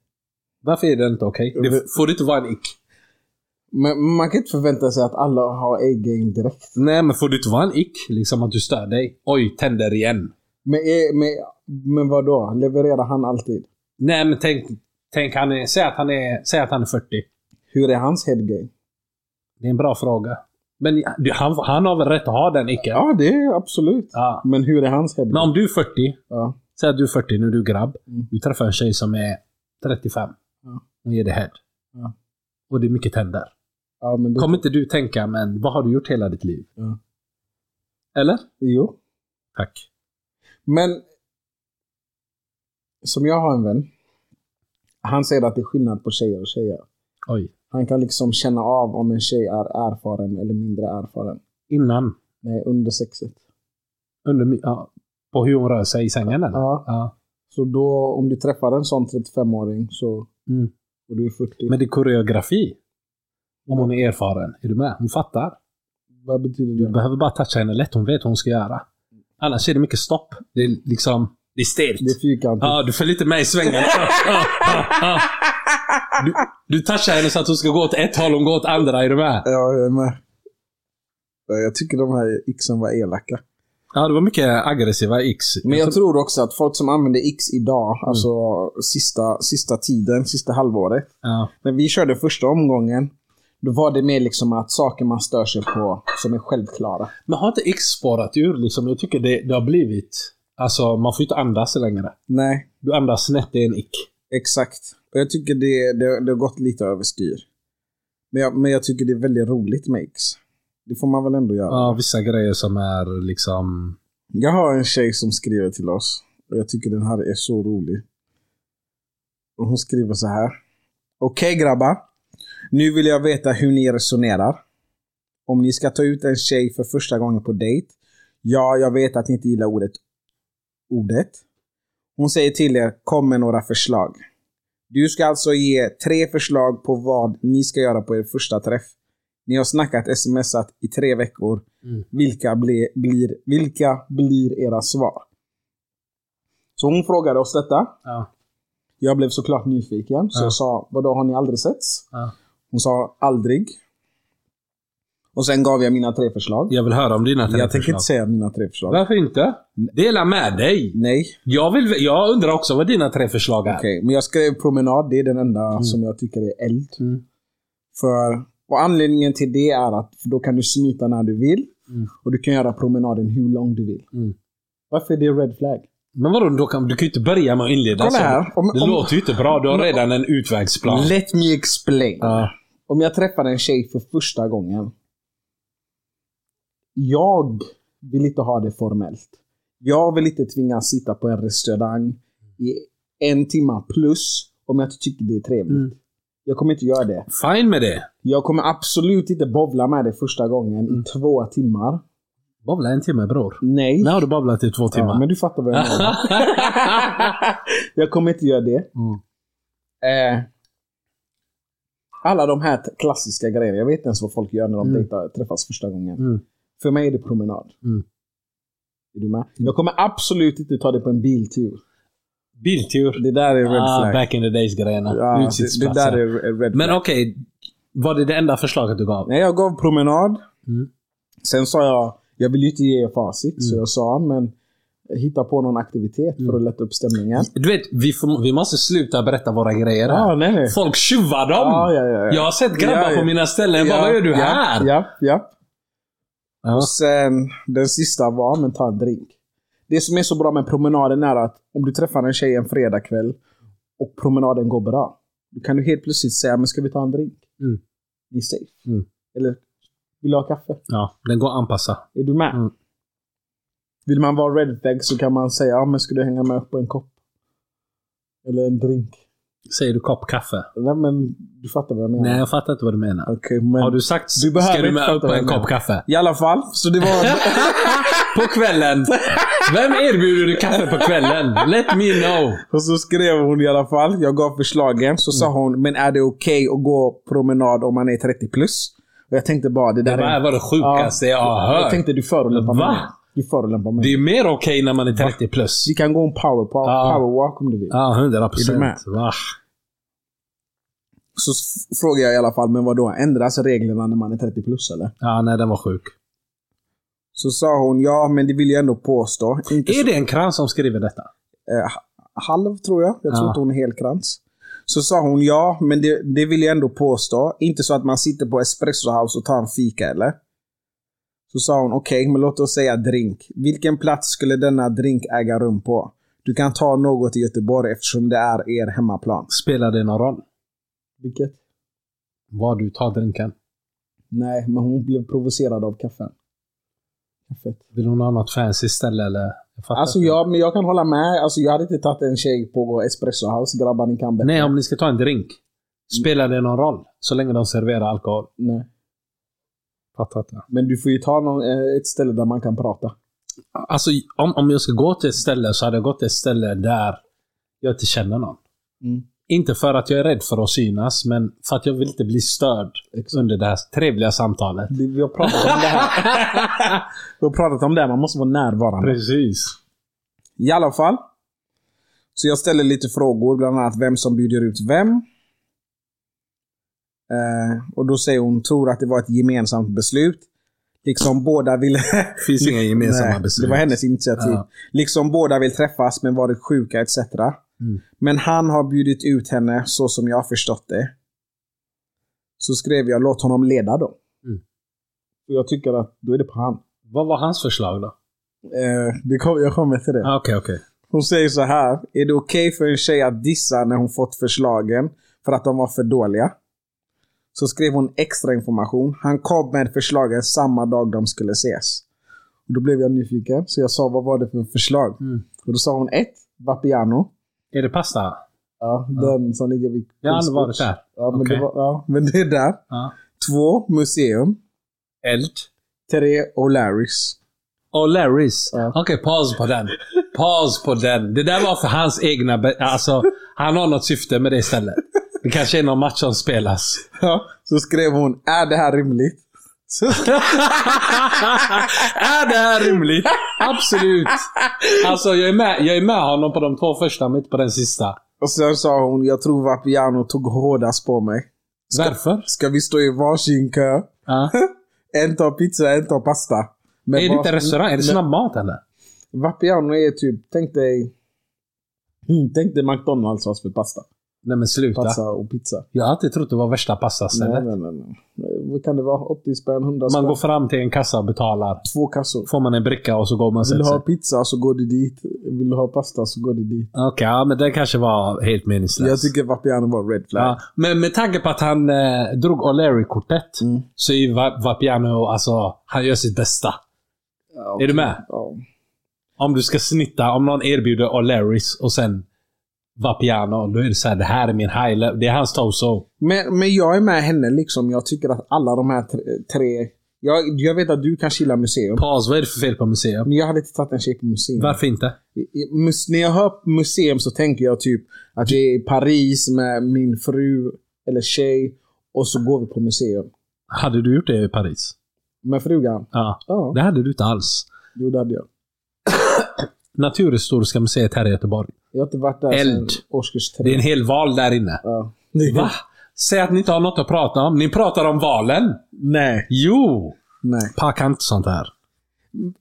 [SPEAKER 3] Varför är det inte okej?
[SPEAKER 2] Jag
[SPEAKER 3] Det
[SPEAKER 2] vet-
[SPEAKER 3] får inte vara en ick.
[SPEAKER 2] Men man kan inte förvänta sig att alla har A-game direkt.
[SPEAKER 3] Nej, men får det inte vara en ick? Liksom att du stör dig. Oj, tänder igen.
[SPEAKER 2] Men, eh, men, men vad då? Levererar han alltid?
[SPEAKER 3] Nej, men tänk... Tänk han är... Säg att han är, säg att han är 40.
[SPEAKER 2] Hur är hans headgame?
[SPEAKER 3] Det är en bra fråga. Men du, han, han har väl rätt att ha den icken?
[SPEAKER 2] Ja, det är absolut.
[SPEAKER 3] Ja.
[SPEAKER 2] Men hur är hans
[SPEAKER 3] Men
[SPEAKER 2] headgame?
[SPEAKER 3] om du är 40,
[SPEAKER 2] Ja.
[SPEAKER 3] säg att du är 40 nu, du är grabb.
[SPEAKER 2] Mm.
[SPEAKER 3] Du träffar en tjej som är 35.
[SPEAKER 2] Ja.
[SPEAKER 3] Hon ger dig head.
[SPEAKER 2] Ja.
[SPEAKER 3] Och det är mycket tänder.
[SPEAKER 2] ja, men det...
[SPEAKER 3] Kommer inte du tänka, men vad har du gjort hela ditt liv?
[SPEAKER 2] Ja.
[SPEAKER 3] Eller?
[SPEAKER 2] Jo.
[SPEAKER 3] Tack.
[SPEAKER 2] Men som jag har en vän. Han säger att det är skillnad på tjejer och tjejer.
[SPEAKER 3] Oj.
[SPEAKER 2] Han kan liksom känna av om en tjej är erfaren eller mindre erfaren.
[SPEAKER 3] Innan.
[SPEAKER 2] Nej, under sexet.
[SPEAKER 3] Under, my- ja, på hur hon rör sig i sängen eller?
[SPEAKER 2] Ja.
[SPEAKER 3] Ja.
[SPEAKER 2] Så då, om du träffar en sån 35-åring så,
[SPEAKER 3] Mm.
[SPEAKER 2] och du är 40.
[SPEAKER 3] Men det är koreografi. Om hon är erfaren. Är du med? Hon fattar.
[SPEAKER 2] vad betyder
[SPEAKER 3] Du
[SPEAKER 2] det?
[SPEAKER 3] behöver bara toucha henne lätt. Hon vet vad hon ska göra. Annars är det mycket stopp. Det är liksom... Det är stelt.
[SPEAKER 2] Det är fyrkantigt.
[SPEAKER 3] Ja, du följer inte med i svängarna. Ja, ja, ja. Du, du touchar henne så att hon ska gå åt ett håll, hon går åt andra. Är du med?
[SPEAKER 2] Ja, jag är med. Ja, Jag tycker de här xen var elaka.
[SPEAKER 3] Ja, det var mycket aggressiva x.
[SPEAKER 2] Men jag tror också att folk som använder x idag, alltså sista, sista tiden, sista halvåret.
[SPEAKER 3] Ja.
[SPEAKER 2] När vi körde första omgången, då var det mer liksom att saker man stör sig på som är självklara.
[SPEAKER 3] Men har inte X spårat ur liksom? Jag tycker det, det har blivit... Alltså, man får ju inte andas längre.
[SPEAKER 2] Nej,
[SPEAKER 3] Du andas snett, det är en ick.
[SPEAKER 2] exakt. Och jag tycker det, det, det har gått lite överstyr. Men jag, men jag tycker det är väldigt roligt med x. Det får man väl ändå göra.
[SPEAKER 3] Ja, vissa grejer som är liksom...
[SPEAKER 2] Jag har en tjej som skriver till oss. Och jag tycker den här är så rolig. Och hon skriver så här. Okej grabbar. Nu vill jag veta hur ni resonerar. Om ni ska ta ut en tjej för första gången på dejt. Ja, jag vet att ni inte gillar ordet. Ordet. Hon säger till er, kom med några förslag. Du ska alltså ge tre förslag på vad ni ska göra på er första träff. Ni har snackat smsat i tre veckor. Vilka, ble, blir, vilka blir era svar? Så hon frågade oss detta.
[SPEAKER 3] Ja.
[SPEAKER 2] Jag blev såklart nyfiken, så
[SPEAKER 3] Ja.
[SPEAKER 2] jag sa vadå har ni aldrig setts?
[SPEAKER 3] Ja.
[SPEAKER 2] Hon sa aldrig. Och sen gav jag mina tre förslag.
[SPEAKER 3] Jag vill höra om dina
[SPEAKER 2] jag tänker
[SPEAKER 3] förslag.
[SPEAKER 2] inte säga mina tre förslag.
[SPEAKER 3] Varför inte? Dela med dig!
[SPEAKER 2] Nej,
[SPEAKER 3] Jag, vill, jag undrar också vad dina tre förslag är.
[SPEAKER 2] okej. Men jag skrev promenad, det är den enda som jag tycker är eld.
[SPEAKER 3] Mm.
[SPEAKER 2] För, och anledningen till det är att då kan du smita när du vill.
[SPEAKER 3] Mm.
[SPEAKER 2] Och du kan göra promenaden hur lång du vill.
[SPEAKER 3] Mm.
[SPEAKER 2] Varför är det red flag?
[SPEAKER 3] Men vadå, då kan, du kan ju inte börja med att inleda
[SPEAKER 2] Kolla
[SPEAKER 3] så.
[SPEAKER 2] här. Om,
[SPEAKER 3] Det
[SPEAKER 2] om,
[SPEAKER 3] låter ju inte bra. Du har redan en utvägsplan.
[SPEAKER 2] Let me explain.
[SPEAKER 3] Ja.
[SPEAKER 2] Om jag träffar en tjej för första gången. Jag vill inte ha det formellt. Jag vill inte tvingas sitta på en restaurang i en timma plus om jag inte tycker det är trevligt.
[SPEAKER 3] Mm.
[SPEAKER 2] Jag kommer inte göra det.
[SPEAKER 3] Fine med det.
[SPEAKER 2] Jag kommer absolut inte bovla med det första gången
[SPEAKER 3] Mm.
[SPEAKER 2] i två timmar.
[SPEAKER 3] Babbla en timme bror.
[SPEAKER 2] Nej.
[SPEAKER 3] Nu har du babblat i två timmar. <laughs>
[SPEAKER 2] Ja, men du fattar vad jag menar. jag kommer inte göra det.
[SPEAKER 3] Mm.
[SPEAKER 2] Eh, alla de här t- klassiska grejerna. Jag vet inte ens vad folk gör när de
[SPEAKER 3] Mm.
[SPEAKER 2] dejtar, träffas första gången.
[SPEAKER 3] Mm.
[SPEAKER 2] För mig är det promenad.
[SPEAKER 3] Mm.
[SPEAKER 2] Är du med? Jag kommer absolut inte ta det på en biltur.
[SPEAKER 3] Biltur.
[SPEAKER 2] Det där är red
[SPEAKER 3] Ah,
[SPEAKER 2] flag.
[SPEAKER 3] back in the days-grejerna.
[SPEAKER 2] ja, det, det
[SPEAKER 3] Utsiktsplatser.
[SPEAKER 2] där är är red flag.
[SPEAKER 3] Men okej, var det det enda förslaget du gav?
[SPEAKER 2] Nej, jag gav promenad.
[SPEAKER 3] Mm.
[SPEAKER 2] Sen sa jag, jag vill ju inte ge facit, så jag sa men hitta på någon aktivitet
[SPEAKER 3] Mm.
[SPEAKER 2] för att lätta upp stämningen.
[SPEAKER 3] Du vet, vi, får, vi måste sluta berätta våra grejer här.
[SPEAKER 2] Ja, nej, nej.
[SPEAKER 3] Folk tjuvar dem!
[SPEAKER 2] Ja, ja, ja, ja.
[SPEAKER 3] Jag har sett grabbar
[SPEAKER 2] Ja, ja.
[SPEAKER 3] på mina ställen. Bara,
[SPEAKER 2] Ja,
[SPEAKER 3] vad gör du
[SPEAKER 2] ja,
[SPEAKER 3] här?
[SPEAKER 2] Ja, ja.
[SPEAKER 3] Ja.
[SPEAKER 2] Och sen den sista var, men ta en drink. Det som är så bra med promenaden är att om du träffar en tjej en fredagkväll och promenaden går bra. Då kan du helt plötsligt säga, men ska vi ta en drink?
[SPEAKER 3] Mm.
[SPEAKER 2] Ni är safe.
[SPEAKER 3] Mm.
[SPEAKER 2] Eller, vill du ha kaffe?
[SPEAKER 3] Ja, den går att anpassa.
[SPEAKER 2] Är du med?
[SPEAKER 3] Mm.
[SPEAKER 2] Vill man vara red flag så kan man säga, ja men ska du hänga med upp på en kopp? Eller en drink?
[SPEAKER 3] Säger du kopp kaffe?
[SPEAKER 2] Nej men, du fattar vad jag menar.
[SPEAKER 3] Nej, jag fattar inte vad du menar.
[SPEAKER 2] Okej, men...
[SPEAKER 3] Har du sagt
[SPEAKER 2] Du behöver
[SPEAKER 3] ska du
[SPEAKER 2] inte
[SPEAKER 3] med upp
[SPEAKER 2] prata
[SPEAKER 3] en
[SPEAKER 2] med
[SPEAKER 3] kopp
[SPEAKER 2] mig.
[SPEAKER 3] kaffe?
[SPEAKER 2] I alla fall, så
[SPEAKER 3] <laughs>
[SPEAKER 2] det var...
[SPEAKER 3] På kvällen! Vem erbjuder du kaffe på kvällen? Let me know!
[SPEAKER 2] Och så skrev hon i alla fall. Jag gav förslagen. Så
[SPEAKER 3] Mm.
[SPEAKER 2] sa hon, men är det okej att gå promenad om man är 30 plus? Och jag tänkte bara, det
[SPEAKER 3] Det
[SPEAKER 2] där
[SPEAKER 3] här
[SPEAKER 2] är...
[SPEAKER 3] var "Äh, det sjukaste jag har
[SPEAKER 2] Jag
[SPEAKER 3] hört.
[SPEAKER 2] tänkte du förolämpar
[SPEAKER 3] Va?
[SPEAKER 2] mig. Du förolämpar mig.
[SPEAKER 3] Det är mer okej när man är 30 plus.
[SPEAKER 2] Vi kan gå en power, power,
[SPEAKER 3] Ja.
[SPEAKER 2] powerwalk om du vill.
[SPEAKER 3] Ja, 100
[SPEAKER 2] Är du med?
[SPEAKER 3] procent.
[SPEAKER 2] Så f- frågade jag i alla fall, men vadå? Ändras reglerna när man är 30 plus eller?
[SPEAKER 3] Ja, nej den var sjuk.
[SPEAKER 2] Så sa hon, ja men det vill jag ändå påstå. Inte
[SPEAKER 3] Är det en krans som skriver detta?
[SPEAKER 2] eh, halv tror jag. Jag tror
[SPEAKER 3] Ja.
[SPEAKER 2] inte hon är helkrans. Så sa hon ja, men det, det vill jag ändå påstå. Inte så att man sitter på Espresso House och tar en fika eller? Så sa hon okej, men låt oss säga drink. Vilken plats skulle denna drink äga rum på? Du kan ta något i Göteborg eftersom det är er hemmaplan.
[SPEAKER 3] Spelar det någon roll?
[SPEAKER 2] Vilket?
[SPEAKER 3] Var du tar drinken?
[SPEAKER 2] Nej, men hon blev provocerad av kaffen. Kaffet.
[SPEAKER 3] Vill hon ha något fancy ställe eller? Jag fattar
[SPEAKER 2] Alltså
[SPEAKER 3] inte.
[SPEAKER 2] jag, men jag kan hålla med. Alltså jag hade inte tagit en tjej på Espresso House. Grabbar, ni kan bättre.
[SPEAKER 3] Nej, om ni ska ta en drink. Spelar det någon roll? Så länge de serverar alkohol.
[SPEAKER 2] Nej.
[SPEAKER 3] Fattar inte.
[SPEAKER 2] Men du får ju ta någon, eh, ett ställe där man kan prata.
[SPEAKER 3] Alltså, om, om jag ska gå till ett ställe så hade jag gått till ett ställe där jag inte känner någon.
[SPEAKER 2] Mm.
[SPEAKER 3] Inte för att jag är rädd för att synas, men för att jag vill inte bli störd under det här trevliga samtalet.
[SPEAKER 2] Det- Vi har pratat om det här.
[SPEAKER 3] <laughs>
[SPEAKER 2] Vi har pratat om det här. Man måste vara närvarande.
[SPEAKER 3] Precis.
[SPEAKER 2] I alla fall. Så jag ställer lite frågor. Bland annat vem som bjuder ut vem. Eh, och då säger hon, tror att det var ett gemensamt beslut. Liksom båda ville...
[SPEAKER 3] Finns inga gemensamma
[SPEAKER 2] <laughs> Nej,
[SPEAKER 3] beslut.
[SPEAKER 2] Det var hennes initiativ.
[SPEAKER 3] Ja.
[SPEAKER 2] Liksom båda vill träffas men varit sjuka etc.
[SPEAKER 3] Mm.
[SPEAKER 2] Men han har bjudit ut henne så som jag har förstått det. Så skrev jag låt honom leda då.
[SPEAKER 3] Mm.
[SPEAKER 2] Och jag tycker att då är det på han.
[SPEAKER 3] Vad var hans förslag då?
[SPEAKER 2] Eh, det kom, jag kommer till det.
[SPEAKER 3] Ah, Okej, okej.
[SPEAKER 2] Hon säger så här. Är det okej för en tjej att dissa när hon fått förslagen för att de var för dåliga? Så skrev hon extra information. Han kom med förslagen samma dag de skulle ses. Och då blev jag nyfiken, så jag sa vad var det för förslag?
[SPEAKER 3] Mm.
[SPEAKER 2] Och då sa hon ett, Vapiano.
[SPEAKER 3] Är det pasta?
[SPEAKER 2] Ja, den som ligger vid
[SPEAKER 3] Jag har aldrig
[SPEAKER 2] Kungsgården.
[SPEAKER 3] varit där.
[SPEAKER 2] Ja, men,
[SPEAKER 3] Okej.
[SPEAKER 2] det var, ja, men det är där.
[SPEAKER 3] Ja.
[SPEAKER 2] Två, Museum.
[SPEAKER 3] Eld.
[SPEAKER 2] Tre, O'Larrys. <laughs>
[SPEAKER 3] Och Larrys.
[SPEAKER 2] Ja.
[SPEAKER 3] Okej, paus på den. Paus på den. Det där var för hans egna... be- Alltså, han har något syfte med det istället. Det kanske är någon match som spelas.
[SPEAKER 2] Ja, så skrev hon, är det här rimligt? Så
[SPEAKER 3] <laughs> är det här rimligt? Absolut. Alltså, jag är, med, jag är med honom på de två första, men inte på den sista.
[SPEAKER 2] Och sen sa hon, jag tror Vapiano tog hårdast på mig.
[SPEAKER 3] Varför?
[SPEAKER 2] Ska vi stå i varsin kö?
[SPEAKER 3] Ja.
[SPEAKER 2] En tar pizza, en tar pasta. <laughs> Men
[SPEAKER 3] Är det inte
[SPEAKER 2] var-
[SPEAKER 3] en restaurang? Är det
[SPEAKER 2] men-
[SPEAKER 3] snabbmat eller?
[SPEAKER 2] Vapiano är typ, tänk dig... Mm, tänk dig McDonalds för pasta.
[SPEAKER 3] Nej men sluta.
[SPEAKER 2] Pasta och pizza.
[SPEAKER 3] Jag har alltid trott det var värsta
[SPEAKER 2] Nej,
[SPEAKER 3] pastastället.
[SPEAKER 2] nej, nej, nej. Vad kan det vara? 80 spänn, 100 spänn?
[SPEAKER 3] Man går fram till en kassa och betalar.
[SPEAKER 2] Två kassor.
[SPEAKER 3] Får man en bricka och så går man och
[SPEAKER 2] Vill du
[SPEAKER 3] sätter
[SPEAKER 2] ha
[SPEAKER 3] sig.
[SPEAKER 2] pizza så går du dit. Vill du ha pasta så går du dit.
[SPEAKER 3] Okej, ja, men det kanske var helt meningslöst.
[SPEAKER 2] Jag tycker Vapiano var red flag.
[SPEAKER 3] ja. Men med tanke på att han eh, drog O'Leary-kortet
[SPEAKER 2] Mm.
[SPEAKER 3] så är Va- Vapiano, alltså, han gör sitt bästa.
[SPEAKER 2] Ja,
[SPEAKER 3] Är du med?
[SPEAKER 2] Ja.
[SPEAKER 3] Om du ska snitta, om någon erbjuder O'Learys och sen Vapiano, då är det så här, det här är min high level. Det är hans toso.
[SPEAKER 2] Men, men jag är med henne liksom. Jag tycker att alla de här tre... tre jag, jag vet att du kan chilla museum.
[SPEAKER 3] Paus, vad är det för fel på museum?
[SPEAKER 2] Men jag hade inte tagit en tjej på museum.
[SPEAKER 3] Varför inte?
[SPEAKER 2] I- i- mus- när jag hör museum så tänker jag typ att jag är i Paris med min fru eller tjej och så går vi på museum.
[SPEAKER 3] Hade du gjort det i Paris?
[SPEAKER 2] Med frugan?
[SPEAKER 3] Ja.
[SPEAKER 2] Ja,
[SPEAKER 3] Det hade du inte alls.
[SPEAKER 2] jo det hade jag.
[SPEAKER 3] Naturhistoriska museet här i Göteborg.
[SPEAKER 2] Jag har inte varit där
[SPEAKER 3] Eld.
[SPEAKER 2] sedan årskurs tre.
[SPEAKER 3] Det är en hel val där inne.
[SPEAKER 2] Ja. Det är-
[SPEAKER 3] Va? Säg att ni inte har något att prata om. Ni pratar om valen.
[SPEAKER 2] Nej.
[SPEAKER 3] Jo!
[SPEAKER 2] Nej.
[SPEAKER 3] Packa inte sånt här.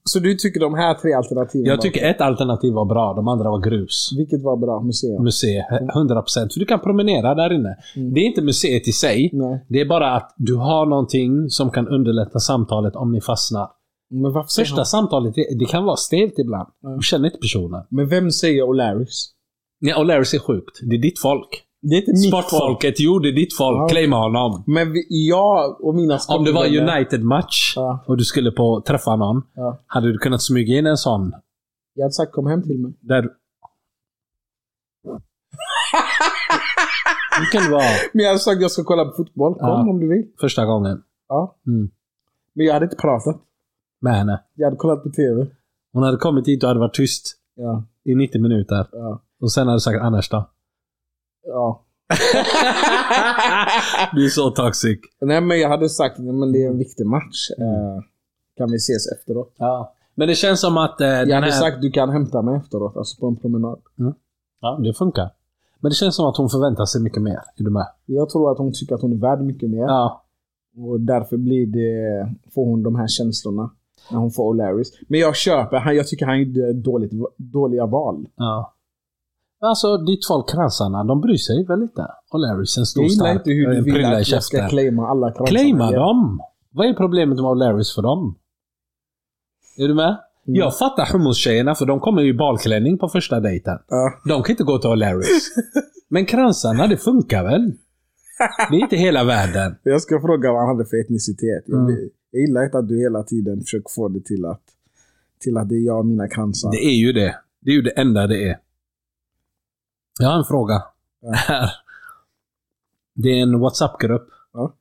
[SPEAKER 2] Så du tycker de här tre alternativen
[SPEAKER 3] Jag
[SPEAKER 2] var-
[SPEAKER 3] tycker ett alternativ var bra, de andra var grus.
[SPEAKER 2] Vilket var bra museum?
[SPEAKER 3] Museet, 100%. För du kan promenera där inne.
[SPEAKER 2] Mm.
[SPEAKER 3] Det är inte museet i sig.
[SPEAKER 2] Nej.
[SPEAKER 3] Det är bara att du har någonting som kan underlätta samtalet om ni fastnar.
[SPEAKER 2] Men varför säger
[SPEAKER 3] Första samtalet, det, det kan vara stelt ibland.
[SPEAKER 2] Mm.
[SPEAKER 3] Du känner inte personen.
[SPEAKER 2] han- Men vem säger O'Larrys?
[SPEAKER 3] Nej, och Larrys är sjukt. Det är ditt folk.
[SPEAKER 2] Det är inte
[SPEAKER 3] Sportfolket, jo det är ditt folk.
[SPEAKER 2] Ja, okej.
[SPEAKER 3] Claima honom.
[SPEAKER 2] Men vi, jag och mina
[SPEAKER 3] Om det var
[SPEAKER 2] sportvänner-
[SPEAKER 3] United-match
[SPEAKER 2] Ja.
[SPEAKER 3] och du skulle på träffa någon,
[SPEAKER 2] Ja.
[SPEAKER 3] hade du kunnat smyga in en sån?
[SPEAKER 2] Jag hade sagt kom hem till mig.
[SPEAKER 3] Där...
[SPEAKER 2] <laughs>
[SPEAKER 3] Du kan vara
[SPEAKER 2] Men jag hade sagt jag ska kolla på fotboll. Kom
[SPEAKER 3] Ja.
[SPEAKER 2] om du vill.
[SPEAKER 3] första gången
[SPEAKER 2] Ja.
[SPEAKER 3] Mm.
[SPEAKER 2] Men jag hade inte pratat.
[SPEAKER 3] med henne.
[SPEAKER 2] Jag hade kollat på TV.
[SPEAKER 3] Hon hade kommit dit och hade varit tyst
[SPEAKER 2] Ja.
[SPEAKER 3] i 90 minuter.
[SPEAKER 2] Ja.
[SPEAKER 3] Och sen hade du sagt annars
[SPEAKER 2] <laughs>
[SPEAKER 3] då?
[SPEAKER 2] ja.
[SPEAKER 3] Du är så toxic.
[SPEAKER 2] Nej, men jag hade sagt nej, men det är en viktig match.
[SPEAKER 3] Mm.
[SPEAKER 2] Eh, kan vi ses efteråt?
[SPEAKER 3] Ja. Men det känns som att... Eh,
[SPEAKER 2] Jag hade sagt du kan hämta mig efteråt. Alltså på en promenad.
[SPEAKER 3] Ja, det funkar. Men det känns som att hon förväntar sig mycket mer. Är du med?
[SPEAKER 2] Jag tror att hon tycker att hon är värd mycket mer.
[SPEAKER 3] Ja.
[SPEAKER 2] Och därför blir det, får hon de här känslorna när hon får O'Larrys. Men jag köper, han, jag tycker han gjorde dåligt, dåliga val.
[SPEAKER 3] ja. Alltså, ditt folk, kransarna, de bryr sig väl inte? Och Larrys, en stor
[SPEAKER 2] Jag gillar
[SPEAKER 3] stark,
[SPEAKER 2] inte hur
[SPEAKER 3] en
[SPEAKER 2] du vill
[SPEAKER 3] prylla i
[SPEAKER 2] att jag
[SPEAKER 3] käften.
[SPEAKER 2] ska claima alla kransar.
[SPEAKER 3] Claima
[SPEAKER 2] Ja.
[SPEAKER 3] dem! Vad är problemet med Larrys för dem? Är du med? Jag fattar hummus-tjejerna för de kommer ju i balklänning på första dejten.
[SPEAKER 2] Ja.
[SPEAKER 3] De kan inte gå till <laughs> Larrys. Men kransarna, det funkar väl? Det är inte hela världen.
[SPEAKER 2] Jag ska fråga vad han hade för etnicitet. Jag,
[SPEAKER 3] Mm.
[SPEAKER 2] vill- jag gillar inte att du hela tiden försöker få det till att, till att det är jag och mina kransar.
[SPEAKER 3] Det är ju det. Det är ju det enda det är. Jag har en fråga. Här. Det är en WhatsApp-grupp.
[SPEAKER 2] Ja.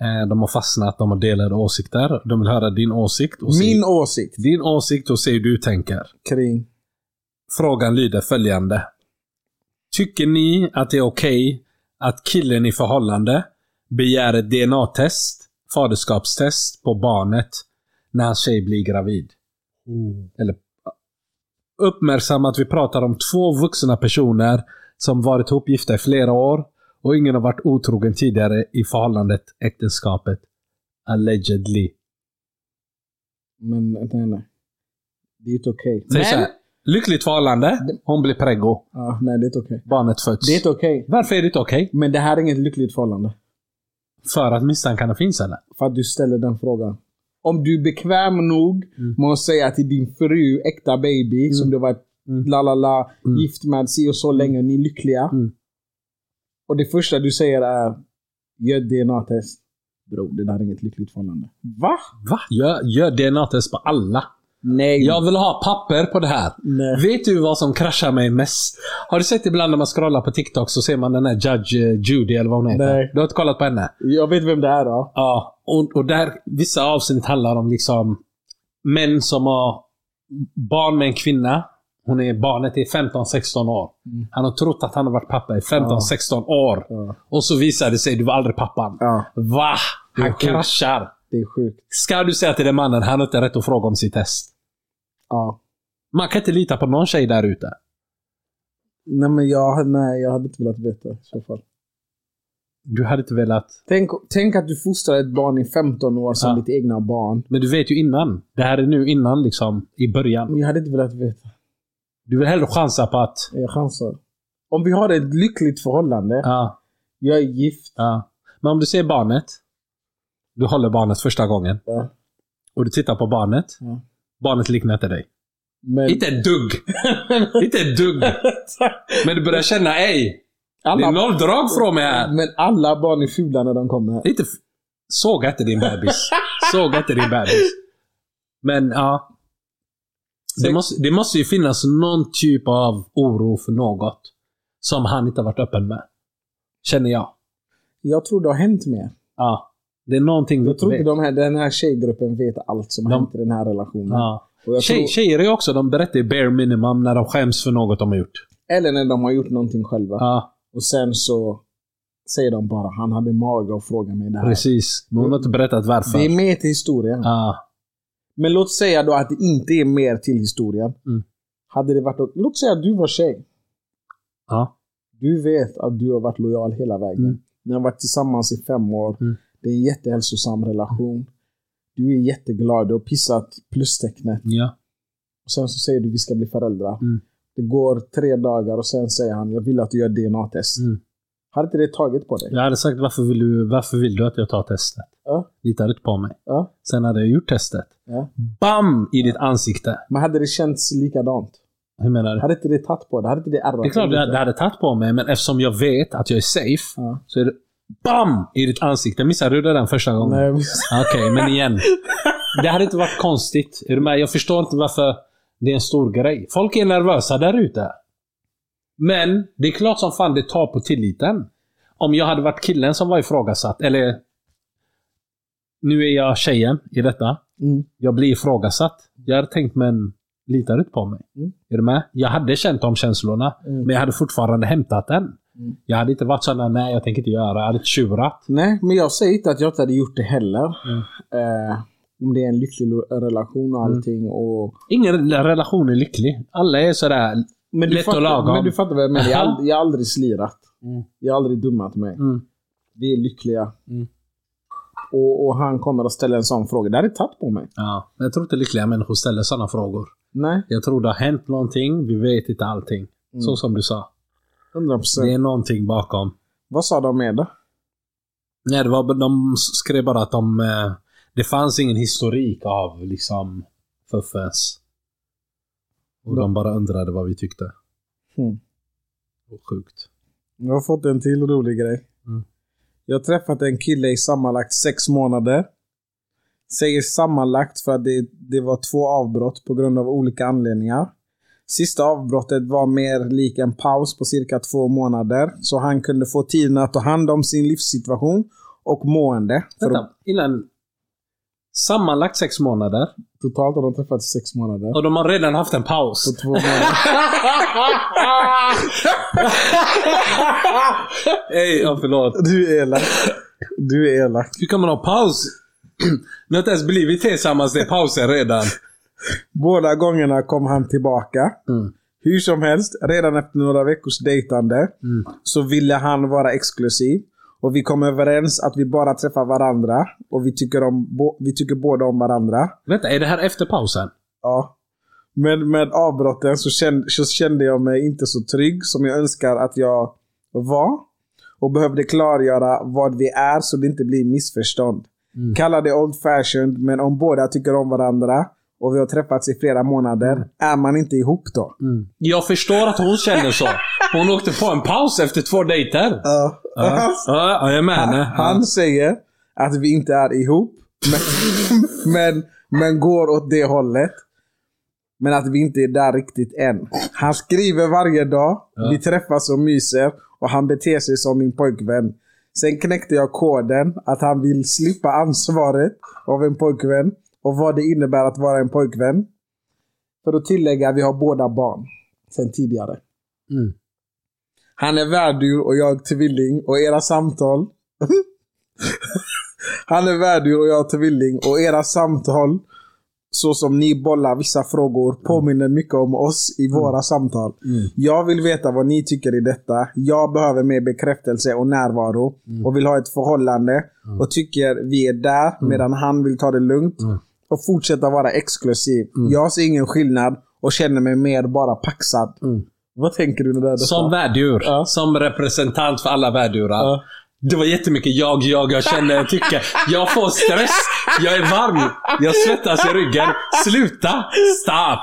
[SPEAKER 3] Eh, De har fastnat, de har delade åsikter. De vill höra din åsikt. Och se,
[SPEAKER 2] Min åsikt
[SPEAKER 3] Din åsikt och se hur du tänker.
[SPEAKER 2] kring...
[SPEAKER 3] Frågan lyder följande. Tycker ni att det är okej att killen i förhållande begär ett DNA-test, faderskapstest på barnet när hans tjej blir gravid? Eller ah, Uppmärksamma att vi pratar om två vuxna personer som varit ihopgifta i flera år och ingen har varit otrogen tidigare i förhållandet, äktenskapet. Allegedly.
[SPEAKER 2] Men nej, nej. Det är inte okej.
[SPEAKER 3] Säg så här. Lyckligt förhållande. Hon blir preggo.
[SPEAKER 2] Ja, nej, det är inte okej.
[SPEAKER 3] Barnet föds.
[SPEAKER 2] Det är inte okej.
[SPEAKER 3] Varför är det inte okej?
[SPEAKER 2] Men det här är inget lyckligt förhållande.
[SPEAKER 3] För att misstankarna finns eller?
[SPEAKER 2] För att du ställer den frågan. Om du är bekväm nog
[SPEAKER 3] Mm.
[SPEAKER 2] med att säga till din fru, äkta baby, som du har varit
[SPEAKER 3] Mm.
[SPEAKER 2] la la la,
[SPEAKER 3] Mm.
[SPEAKER 2] gift med si och så länge, ni är lyckliga.
[SPEAKER 3] Mm.
[SPEAKER 2] Och det första du säger är, gör DNA-test. Bro, det där är inget lyckligt förhållande. Va?
[SPEAKER 3] Va? Gör, gör DNA-test på alla.
[SPEAKER 2] Nej.
[SPEAKER 3] Jag vill ha papper på det här.
[SPEAKER 2] Nej.
[SPEAKER 3] Vet du vad som kraschar mig mest? Har du sett ibland när man scrollar på TikTok så ser man den här Judge eh, Judy eller vad hon heter?
[SPEAKER 2] Nej.
[SPEAKER 3] Du har inte kollat på henne?
[SPEAKER 2] Jag vet vem det är då.
[SPEAKER 3] Ja. Och, och där, vissa avsnitt handlar om liksom män som har barn med en kvinna. Hon är, barnet är 15-16 år.
[SPEAKER 2] Mm.
[SPEAKER 3] Han har trott att han har varit pappa i 15-16 år.
[SPEAKER 2] Ja.
[SPEAKER 3] Och så visar det sig, du var aldrig pappan.
[SPEAKER 2] ja.
[SPEAKER 3] Va?
[SPEAKER 2] Det är
[SPEAKER 3] Han
[SPEAKER 2] sjukt.
[SPEAKER 3] kraschar.
[SPEAKER 2] Det är sjukt.
[SPEAKER 3] Ska du säga till den mannen, han har inte rätt att fråga om sitt test.
[SPEAKER 2] Ja.
[SPEAKER 3] Man kan inte lita på någon tjej där ute.
[SPEAKER 2] Nej, men jag, nej, jag hade inte velat veta i så fall.
[SPEAKER 3] Du hade inte velat...
[SPEAKER 2] Tänk, tänk att du fostrar ett barn i 15 år som
[SPEAKER 3] Ja.
[SPEAKER 2] ditt egna barn.
[SPEAKER 3] Men du vet ju innan. Det här är nu innan liksom, i början.
[SPEAKER 2] Men jag hade inte velat veta.
[SPEAKER 3] Du vill hellre chansa på att...
[SPEAKER 2] Jag chansar. Om vi har ett lyckligt förhållande.
[SPEAKER 3] Ja,
[SPEAKER 2] Jag är gift.
[SPEAKER 3] ja. Men om du ser barnet. Du håller barnet första gången.
[SPEAKER 2] Ja.
[SPEAKER 3] Och du tittar på barnet.
[SPEAKER 2] Ja.
[SPEAKER 3] Barnet liknar inte dig.
[SPEAKER 2] Mm. Men
[SPEAKER 3] Inte ett dugg! inte ett dugg! Men du börjar känna, ej! Det är
[SPEAKER 2] <laughs> alla,
[SPEAKER 3] noll drag från mig här!
[SPEAKER 2] men alla barn är fula när de kommer.
[SPEAKER 3] Det är Inte f- såga inte din bebis. såga inte din bebis. Men ja. Det måste, det måste ju finnas någon typ av oro för något som han inte har varit öppen med. Känner jag.
[SPEAKER 2] Jag tror det har hänt mer.
[SPEAKER 3] Ja. Det är någonting vi
[SPEAKER 2] Jag
[SPEAKER 3] inte
[SPEAKER 2] tror
[SPEAKER 3] vet.
[SPEAKER 2] inte de här, den här tjejgruppen vet allt som har
[SPEAKER 3] De-
[SPEAKER 2] hänt i den här relationen.
[SPEAKER 3] Ja.
[SPEAKER 2] Och jag
[SPEAKER 3] Tjej,
[SPEAKER 2] tror,
[SPEAKER 3] tjejer är också, de berättar ju bare minimum när de skäms för något de har gjort.
[SPEAKER 2] Eller när de har gjort någonting själva.
[SPEAKER 3] Ja,
[SPEAKER 2] Och sen så säger de bara han hade mage att fråga mig det här.
[SPEAKER 3] precis. Men hon har inte berättat varför.
[SPEAKER 2] Det är mer till historien.
[SPEAKER 3] Ja.
[SPEAKER 2] Men låt säga då att det inte är mer till historien.
[SPEAKER 3] Mm.
[SPEAKER 2] Hade det varit, låt säga att du var tjej.
[SPEAKER 3] Ja.
[SPEAKER 2] Du vet att du har varit lojal hela vägen.
[SPEAKER 3] Mm.
[SPEAKER 2] Ni har varit tillsammans i fem år.
[SPEAKER 3] Mm.
[SPEAKER 2] Det är en jättehälsosam relation. Du är jätteglad, du har pissat plustecknet.
[SPEAKER 3] Ja.
[SPEAKER 2] Och sen så säger du vi ska bli föräldrar.
[SPEAKER 3] Mm.
[SPEAKER 2] Det går tre dagar och sen säger han jag vill att du gör DNA-test.
[SPEAKER 3] Mm.
[SPEAKER 2] Har inte det tagit på dig?
[SPEAKER 3] Jag hade sagt varför vill du, varför vill du att jag tar testet?
[SPEAKER 2] Ja.
[SPEAKER 3] Litar du inte på mig?
[SPEAKER 2] Ja.
[SPEAKER 3] Sen hade jag gjort testet.
[SPEAKER 2] Ja.
[SPEAKER 3] BAM! I ditt ansikte.
[SPEAKER 2] Men hade det känts likadant?
[SPEAKER 3] Hur menar du?
[SPEAKER 2] Hade inte det tagit på dig? Hade inte det ärrat
[SPEAKER 3] Det är klart
[SPEAKER 2] dig
[SPEAKER 3] det,
[SPEAKER 2] lite?
[SPEAKER 3] det hade tagit på mig, men eftersom jag vet att jag är safe
[SPEAKER 2] Ja.
[SPEAKER 3] så är det BAM! I ditt ansikte. Missade du det den första gången? Ah,
[SPEAKER 2] Nej, men-
[SPEAKER 3] Okej, men
[SPEAKER 2] <laughs>
[SPEAKER 3] igen. Det hade inte varit konstigt. Är du med? Jag förstår inte varför det är en stor grej. Folk är nervösa där ute. Men det är klart som fan det tar på tilliten. Om jag hade varit killen som var ifrågasatt, eller nu är jag tjejen i detta.
[SPEAKER 2] Mm.
[SPEAKER 3] Jag blir ifrågasatt. Jag hade tänkt, men litar du inte på mig?
[SPEAKER 2] Mm.
[SPEAKER 3] Är du med? Jag hade känt de känslorna,
[SPEAKER 2] Mm.
[SPEAKER 3] men jag hade fortfarande hämtat den. Jag hade inte varit sådär, nej jag tänker inte göra. Jag hade inte tjurat.
[SPEAKER 2] Nej, men jag säger inte att jag inte hade gjort det heller.
[SPEAKER 3] Mm.
[SPEAKER 2] Eh, om det är en lycklig lo- relation och allting. Och...
[SPEAKER 3] Ingen relation är lycklig. Alla är sådär...
[SPEAKER 2] Men, du
[SPEAKER 3] Lätt och
[SPEAKER 2] fattar,
[SPEAKER 3] lagom.
[SPEAKER 2] men du fattar vad jag menar. Jag har aldrig, jag har aldrig slirat.
[SPEAKER 3] Mm.
[SPEAKER 2] Jag har aldrig dummat mig.
[SPEAKER 3] Mm.
[SPEAKER 2] Vi är lyckliga.
[SPEAKER 3] Mm.
[SPEAKER 2] Och, och han kommer att ställa en sån fråga. Det hade tagit på mig.
[SPEAKER 3] Ja. Jag tror inte lyckliga människor ställer sådana frågor.
[SPEAKER 2] Nej,
[SPEAKER 3] Jag tror det har hänt någonting, vi vet inte allting.
[SPEAKER 2] Mm.
[SPEAKER 3] Så som du sa.
[SPEAKER 2] 100%.
[SPEAKER 3] Det är någonting bakom.
[SPEAKER 2] Vad sa de med det?
[SPEAKER 3] Nej, det var, de skrev bara att de... eh, Det fanns ingen historik av liksom fuffens. Och de bara undrade vad vi tyckte.
[SPEAKER 2] Mm.
[SPEAKER 3] Och sjukt.
[SPEAKER 2] Jag har fått en till rolig grej.
[SPEAKER 3] Mm.
[SPEAKER 2] Jag har träffat en kille i sammanlagt sex månader. Säger sammanlagt för att det, det var två avbrott på grund av olika anledningar. Sista avbrottet var mer lik en paus på cirka två månader. Så han kunde få tiden att ta hand om sin livssituation och mående. För
[SPEAKER 3] Vänta, innan... Sammanlagt sex månader.
[SPEAKER 2] totalt har de träffats i sex månader.
[SPEAKER 3] Och de har redan haft en paus.
[SPEAKER 2] På två månader. <laughs>
[SPEAKER 3] Ey, ja, förlåt.
[SPEAKER 2] Du är elak. Du är elak.
[SPEAKER 3] Hur kan man ha paus? <clears throat> Ni har inte ens blivit tillsammans, det är pausen redan.
[SPEAKER 2] Båda gångerna kom han tillbaka.
[SPEAKER 3] Mm.
[SPEAKER 2] Hur som helst, redan efter några veckors dejtande så ville han vara exklusiv. Och vi kom överens att vi bara träffar varandra. Och vi tycker, om, bo- vi tycker båda om varandra.
[SPEAKER 3] Vänta, är det här efter pausen?
[SPEAKER 2] Ja. Men med avbrotten så kände, så kände jag mig inte så trygg som jag önskar att jag var. Och behövde klargöra vad vi är så det inte blir missförstånd.
[SPEAKER 3] Mm.
[SPEAKER 2] Kalla det old fashioned, men om båda tycker om varandra och vi har träffats i flera månader, är man inte ihop då?
[SPEAKER 3] Jag förstår att hon känner så. Hon åkte på en paus efter två dejter.
[SPEAKER 2] Ja.
[SPEAKER 3] Ja, ja, jag är med henne.
[SPEAKER 2] Han säger att vi inte är ihop, men, men, men går åt det hållet. Men att vi inte är där riktigt än. Han skriver varje dag,
[SPEAKER 3] Ja.
[SPEAKER 2] vi träffas och myser och han beter sig som min pojkvän. Sen knäckte jag koden att han vill slippa ansvaret av en pojkvän och vad det innebär att vara en pojkvän. För att tillägga, vi har båda barn sen tidigare.
[SPEAKER 3] Mm.
[SPEAKER 2] Han är värdur och jag tvilling och era samtal. <laughs> Han är värdur och jag tvilling och era samtal så som ni bollar vissa frågor påminner mycket om oss i våra samtal.
[SPEAKER 3] Mm.
[SPEAKER 2] Jag vill veta vad ni tycker i detta. Jag behöver mer bekräftelse och närvaro och vill ha ett förhållande och tycker vi är där medan han vill ta det lugnt
[SPEAKER 3] Mm.
[SPEAKER 2] och fortsätta vara exklusiv. Jag ser ingen skillnad och känner mig mer bara paxad.
[SPEAKER 3] Mm.
[SPEAKER 2] Vad tänker du när det är
[SPEAKER 3] Som värddjur.
[SPEAKER 2] Ja.
[SPEAKER 3] Som representant för alla värddjurar.
[SPEAKER 2] Ja.
[SPEAKER 3] Det var jättemycket jag, jag, jag känner, jag tycker. Jag får stress. Jag är varm. Jag svettas i ryggen. Sluta! Stop!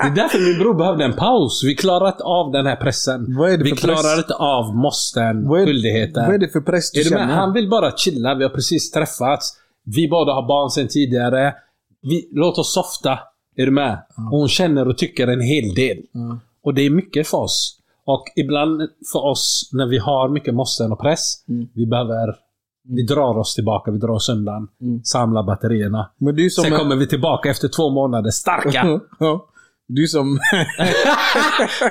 [SPEAKER 3] Det är därför min bror behövde en paus. Vi klarar inte av den här pressen.
[SPEAKER 2] Vad är det
[SPEAKER 3] Vi
[SPEAKER 2] för press?
[SPEAKER 3] klarar inte av måsten,
[SPEAKER 2] Vad är,
[SPEAKER 3] skyldigheten.
[SPEAKER 2] Vad är det för press du
[SPEAKER 3] Är du med?
[SPEAKER 2] känner?
[SPEAKER 3] Han vill bara chilla. Vi har precis träffats. Vi båda har barn sedan tidigare. Vi, låt oss softa. Är du med? Och hon känner och tycker en hel del.
[SPEAKER 2] Ja.
[SPEAKER 3] Och det är mycket för oss. Och ibland för oss, när vi har mycket måsten och press,
[SPEAKER 2] Mm.
[SPEAKER 3] vi behöver vi drar oss tillbaka, vi drar oss undan,
[SPEAKER 2] Mm.
[SPEAKER 3] samlar batterierna.
[SPEAKER 2] Men du som...
[SPEAKER 3] Sen
[SPEAKER 2] är-
[SPEAKER 3] kommer vi tillbaka efter två månader
[SPEAKER 2] <laughs>
[SPEAKER 3] starka.
[SPEAKER 2] Ja. Du som,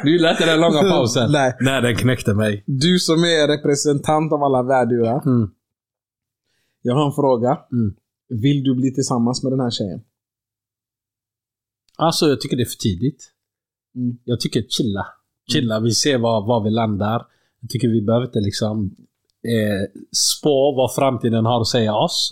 [SPEAKER 3] Du gillar inte den långa pausen?
[SPEAKER 2] Nej.
[SPEAKER 3] Nej, den knäckte mig.
[SPEAKER 2] du som är representant av alla värdurar.
[SPEAKER 3] Mm.
[SPEAKER 2] Jag har en fråga.
[SPEAKER 3] Mm.
[SPEAKER 2] Vill du bli tillsammans med den här tjejen?
[SPEAKER 3] Alltså, jag tycker det är för tidigt.
[SPEAKER 2] Mm.
[SPEAKER 3] Jag tycker chilla. Chilla, vi ser var, var vi landar. Jag
[SPEAKER 2] Mm.
[SPEAKER 3] tycker vi behöver inte liksom eh, spå vad framtiden har att säga oss.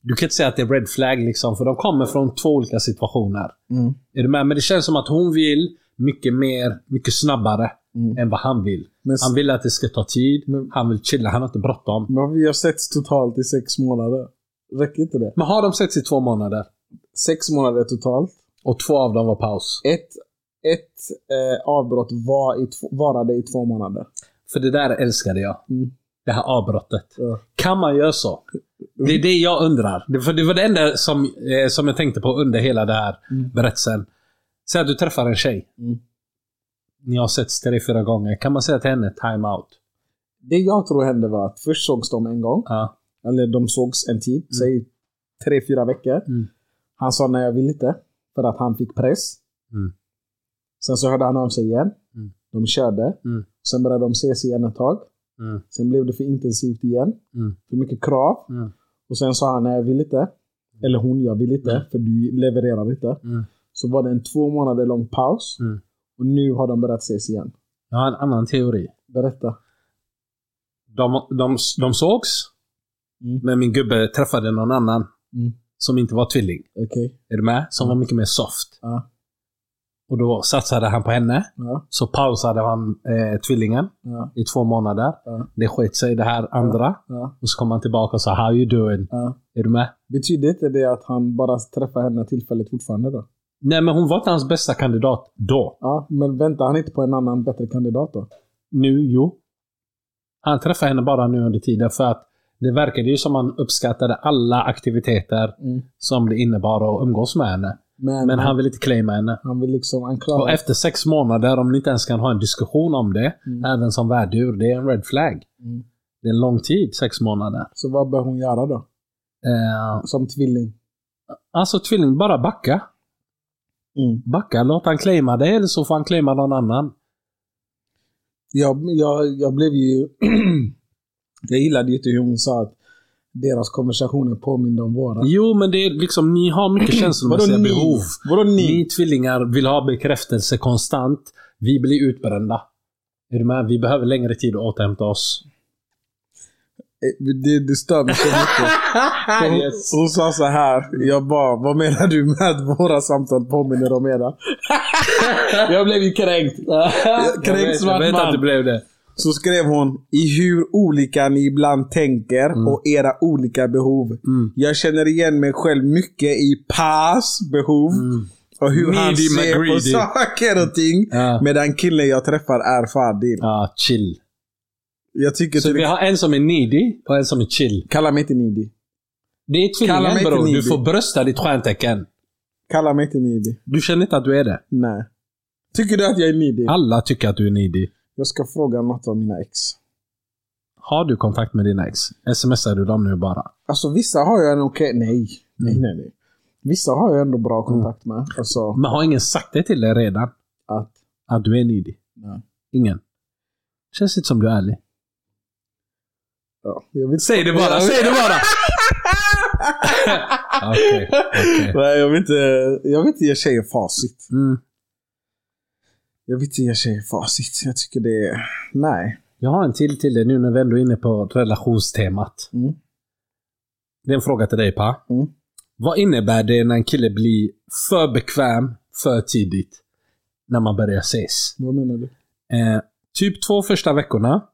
[SPEAKER 3] Du kan inte säga att det är red flag liksom, för de kommer från två olika situationer.
[SPEAKER 2] Mm.
[SPEAKER 3] Är du med? Men det känns som att hon vill mycket mer, mycket snabbare
[SPEAKER 2] Mm.
[SPEAKER 3] än vad han vill.
[SPEAKER 2] Men, s-
[SPEAKER 3] Han vill att det ska ta tid,
[SPEAKER 2] Men-
[SPEAKER 3] han vill chilla, han har inte bråttom.
[SPEAKER 2] men vi har setts totalt i sex månader. Räcker inte det?
[SPEAKER 3] Men har de setts i två månader?
[SPEAKER 2] Sex månader totalt.
[SPEAKER 3] Och två av dem var paus.
[SPEAKER 2] Ett, ett eh, avbrott var i två, varade i två månader.
[SPEAKER 3] För det där älskade jag.
[SPEAKER 2] Mm.
[SPEAKER 3] Det här avbrottet.
[SPEAKER 2] Ja.
[SPEAKER 3] Kan man göra så?
[SPEAKER 2] Mm.
[SPEAKER 3] Det är det jag undrar. Det, för det var det enda som, eh, som jag tänkte på under hela den här
[SPEAKER 2] Mm.
[SPEAKER 3] berättelsen. Säg att du träffar en tjej.
[SPEAKER 2] Mm.
[SPEAKER 3] Ni har sett tre, fyra gånger. Kan man säga till henne time out?
[SPEAKER 2] Det jag tror hände var att först sågs de en gång.
[SPEAKER 3] Ja.
[SPEAKER 2] Eller de sågs en tid. Säg tre, fyra veckor.
[SPEAKER 3] Mm.
[SPEAKER 2] Han sa nej, jag vill inte. För att han fick press.
[SPEAKER 3] Mm.
[SPEAKER 2] Sen så hörde han av sig igen.
[SPEAKER 3] Mm.
[SPEAKER 2] De körde.
[SPEAKER 3] Mm.
[SPEAKER 2] Sen började de ses igen ett tag.
[SPEAKER 3] Mm.
[SPEAKER 2] Sen blev det för intensivt igen.
[SPEAKER 3] Mm.
[SPEAKER 2] För mycket krav.
[SPEAKER 3] Mm.
[SPEAKER 2] Och sen sa han nej, jag vill inte. Eller hon, jag vill inte.
[SPEAKER 3] Mm.
[SPEAKER 2] För du levererar inte.
[SPEAKER 3] Mm.
[SPEAKER 2] Så var det en två månader lång paus.
[SPEAKER 3] Mm.
[SPEAKER 2] Och nu har de börjat ses igen.
[SPEAKER 3] Jag har en annan teori.
[SPEAKER 2] Berätta.
[SPEAKER 3] De, de, de sågs,
[SPEAKER 2] Mm.
[SPEAKER 3] men min gubbe träffade någon annan
[SPEAKER 2] Mm.
[SPEAKER 3] som inte var tvilling.
[SPEAKER 2] Okej.
[SPEAKER 3] Är du med? Som
[SPEAKER 2] Mm.
[SPEAKER 3] var mycket mer soft.
[SPEAKER 2] Ja.
[SPEAKER 3] Och då satsade han på henne.
[SPEAKER 2] Ja.
[SPEAKER 3] Så pausade han eh, tvillingen
[SPEAKER 2] Ja.
[SPEAKER 3] i två månader.
[SPEAKER 2] Ja.
[SPEAKER 3] Det sket sig det här andra.
[SPEAKER 2] Ja.
[SPEAKER 3] Och så kom han tillbaka och sa How you doing?
[SPEAKER 2] Ja.
[SPEAKER 3] Är du med?
[SPEAKER 2] Betyder inte det att han bara träffar henne tillfälligt fortfarande då?
[SPEAKER 3] Nej men hon var inte hans bästa kandidat då.
[SPEAKER 2] Ja, men väntar han inte på en annan bättre kandidat då?
[SPEAKER 3] Nu, jo. Han träffade henne bara nu under tiden för att det verkade ju som han uppskattade alla aktiviteter som det innebar att umgås med henne.
[SPEAKER 2] Men,
[SPEAKER 3] Men han
[SPEAKER 2] han,
[SPEAKER 3] vill inte claima henne.
[SPEAKER 2] han vill liksom, han klarar
[SPEAKER 3] Och efter sex månader, om ni inte ens kan ha en diskussion om det,
[SPEAKER 2] Mm.
[SPEAKER 3] även som värdur, det är en red flag.
[SPEAKER 2] Mm.
[SPEAKER 3] Det är en lång tid, sex månader.
[SPEAKER 2] Så vad bör hon göra då?
[SPEAKER 3] Eh,
[SPEAKER 2] Som tvilling?
[SPEAKER 3] alltså tvilling, bara backa. Backa, låt han claima dig eller så får han claima någon annan.
[SPEAKER 2] Jag, jag, jag blev ju... <clears throat> jag gillade ju inte hur hon sa att deras konversationer påminner om våra.
[SPEAKER 3] Jo, men det är liksom, ni har
[SPEAKER 2] <clears throat>
[SPEAKER 3] mycket känslomässiga behov.
[SPEAKER 2] Vadå ni?
[SPEAKER 3] Ni tvillingar vill ha bekräftelse konstant. Vi blir utbrända. Är du med? Vi behöver längre tid att återhämta oss.
[SPEAKER 2] Eh, Det, det stör mig så mycket. För Hon,
[SPEAKER 3] Yes.
[SPEAKER 2] hon sa så här, jag bara, vad menar du med att våra samtal påminner om era? <laughs> jag blev ju kränkt.
[SPEAKER 3] <laughs> Jag
[SPEAKER 2] Kränkt
[SPEAKER 3] vet-
[SPEAKER 2] svart
[SPEAKER 3] Jag vet
[SPEAKER 2] man.
[SPEAKER 3] att det blev det.
[SPEAKER 2] Så skrev hon i hur olika ni ibland tänker och era olika behov.
[SPEAKER 3] Mm.
[SPEAKER 2] Jag känner igen mig själv mycket i Pas behov och hur han
[SPEAKER 3] Mm. Needy
[SPEAKER 2] ser på
[SPEAKER 3] McGreedy.
[SPEAKER 2] saker och ting.
[SPEAKER 3] Ja.
[SPEAKER 2] Medan killen jag träffar är Fadil.
[SPEAKER 3] Ja, chill.
[SPEAKER 2] Jag tycker
[SPEAKER 3] Så
[SPEAKER 2] till
[SPEAKER 3] vi har en som är needy och en som är chill.
[SPEAKER 2] Kalla mig inte needy.
[SPEAKER 3] Det är
[SPEAKER 2] Kalla
[SPEAKER 3] tvillingen
[SPEAKER 2] mig inte
[SPEAKER 3] bror. Du
[SPEAKER 2] needy.
[SPEAKER 3] får brösta ditt stjärntecken.
[SPEAKER 2] Kalla mig inte needy.
[SPEAKER 3] Du känner inte att du är det.
[SPEAKER 2] Nej. Tycker du att jag är needy?
[SPEAKER 3] Alla tycker att du är needy.
[SPEAKER 2] Jag ska fråga något av mina ex.
[SPEAKER 3] Har du kontakt med dina ex? Smsar du dem nu bara?
[SPEAKER 2] Alltså vissa har jag en okej... Nej.
[SPEAKER 3] Mm.
[SPEAKER 2] Nej, nej, nej. Vissa har jag ändå bra kontakt med. Alltså
[SPEAKER 3] Men har ingen sagt det till dig redan?
[SPEAKER 2] att...
[SPEAKER 3] Att du är needy?
[SPEAKER 2] Nej.
[SPEAKER 3] Ingen? Känns inte som du är ärlig.
[SPEAKER 2] Ja, jag vill
[SPEAKER 3] Säg det bara,
[SPEAKER 2] Ja.
[SPEAKER 3] säg det bara! <laughs> Okej, okej.
[SPEAKER 2] Nej, jag vill inte, jag vill inte ge tjejer facit.
[SPEAKER 3] Mm.
[SPEAKER 2] Jag vill inte ge tjejer facit. Jag tycker det är... Nej.
[SPEAKER 3] Jag har en till till dig nu när vi ändå är inne på relationstemat.
[SPEAKER 2] Mm.
[SPEAKER 3] Det är en fråga till dig Pa.
[SPEAKER 2] Mm.
[SPEAKER 3] Vad innebär det när en kille blir för bekväm för tidigt? När man börjar ses.
[SPEAKER 2] Vad menar du?
[SPEAKER 3] Eh, typ två första veckorna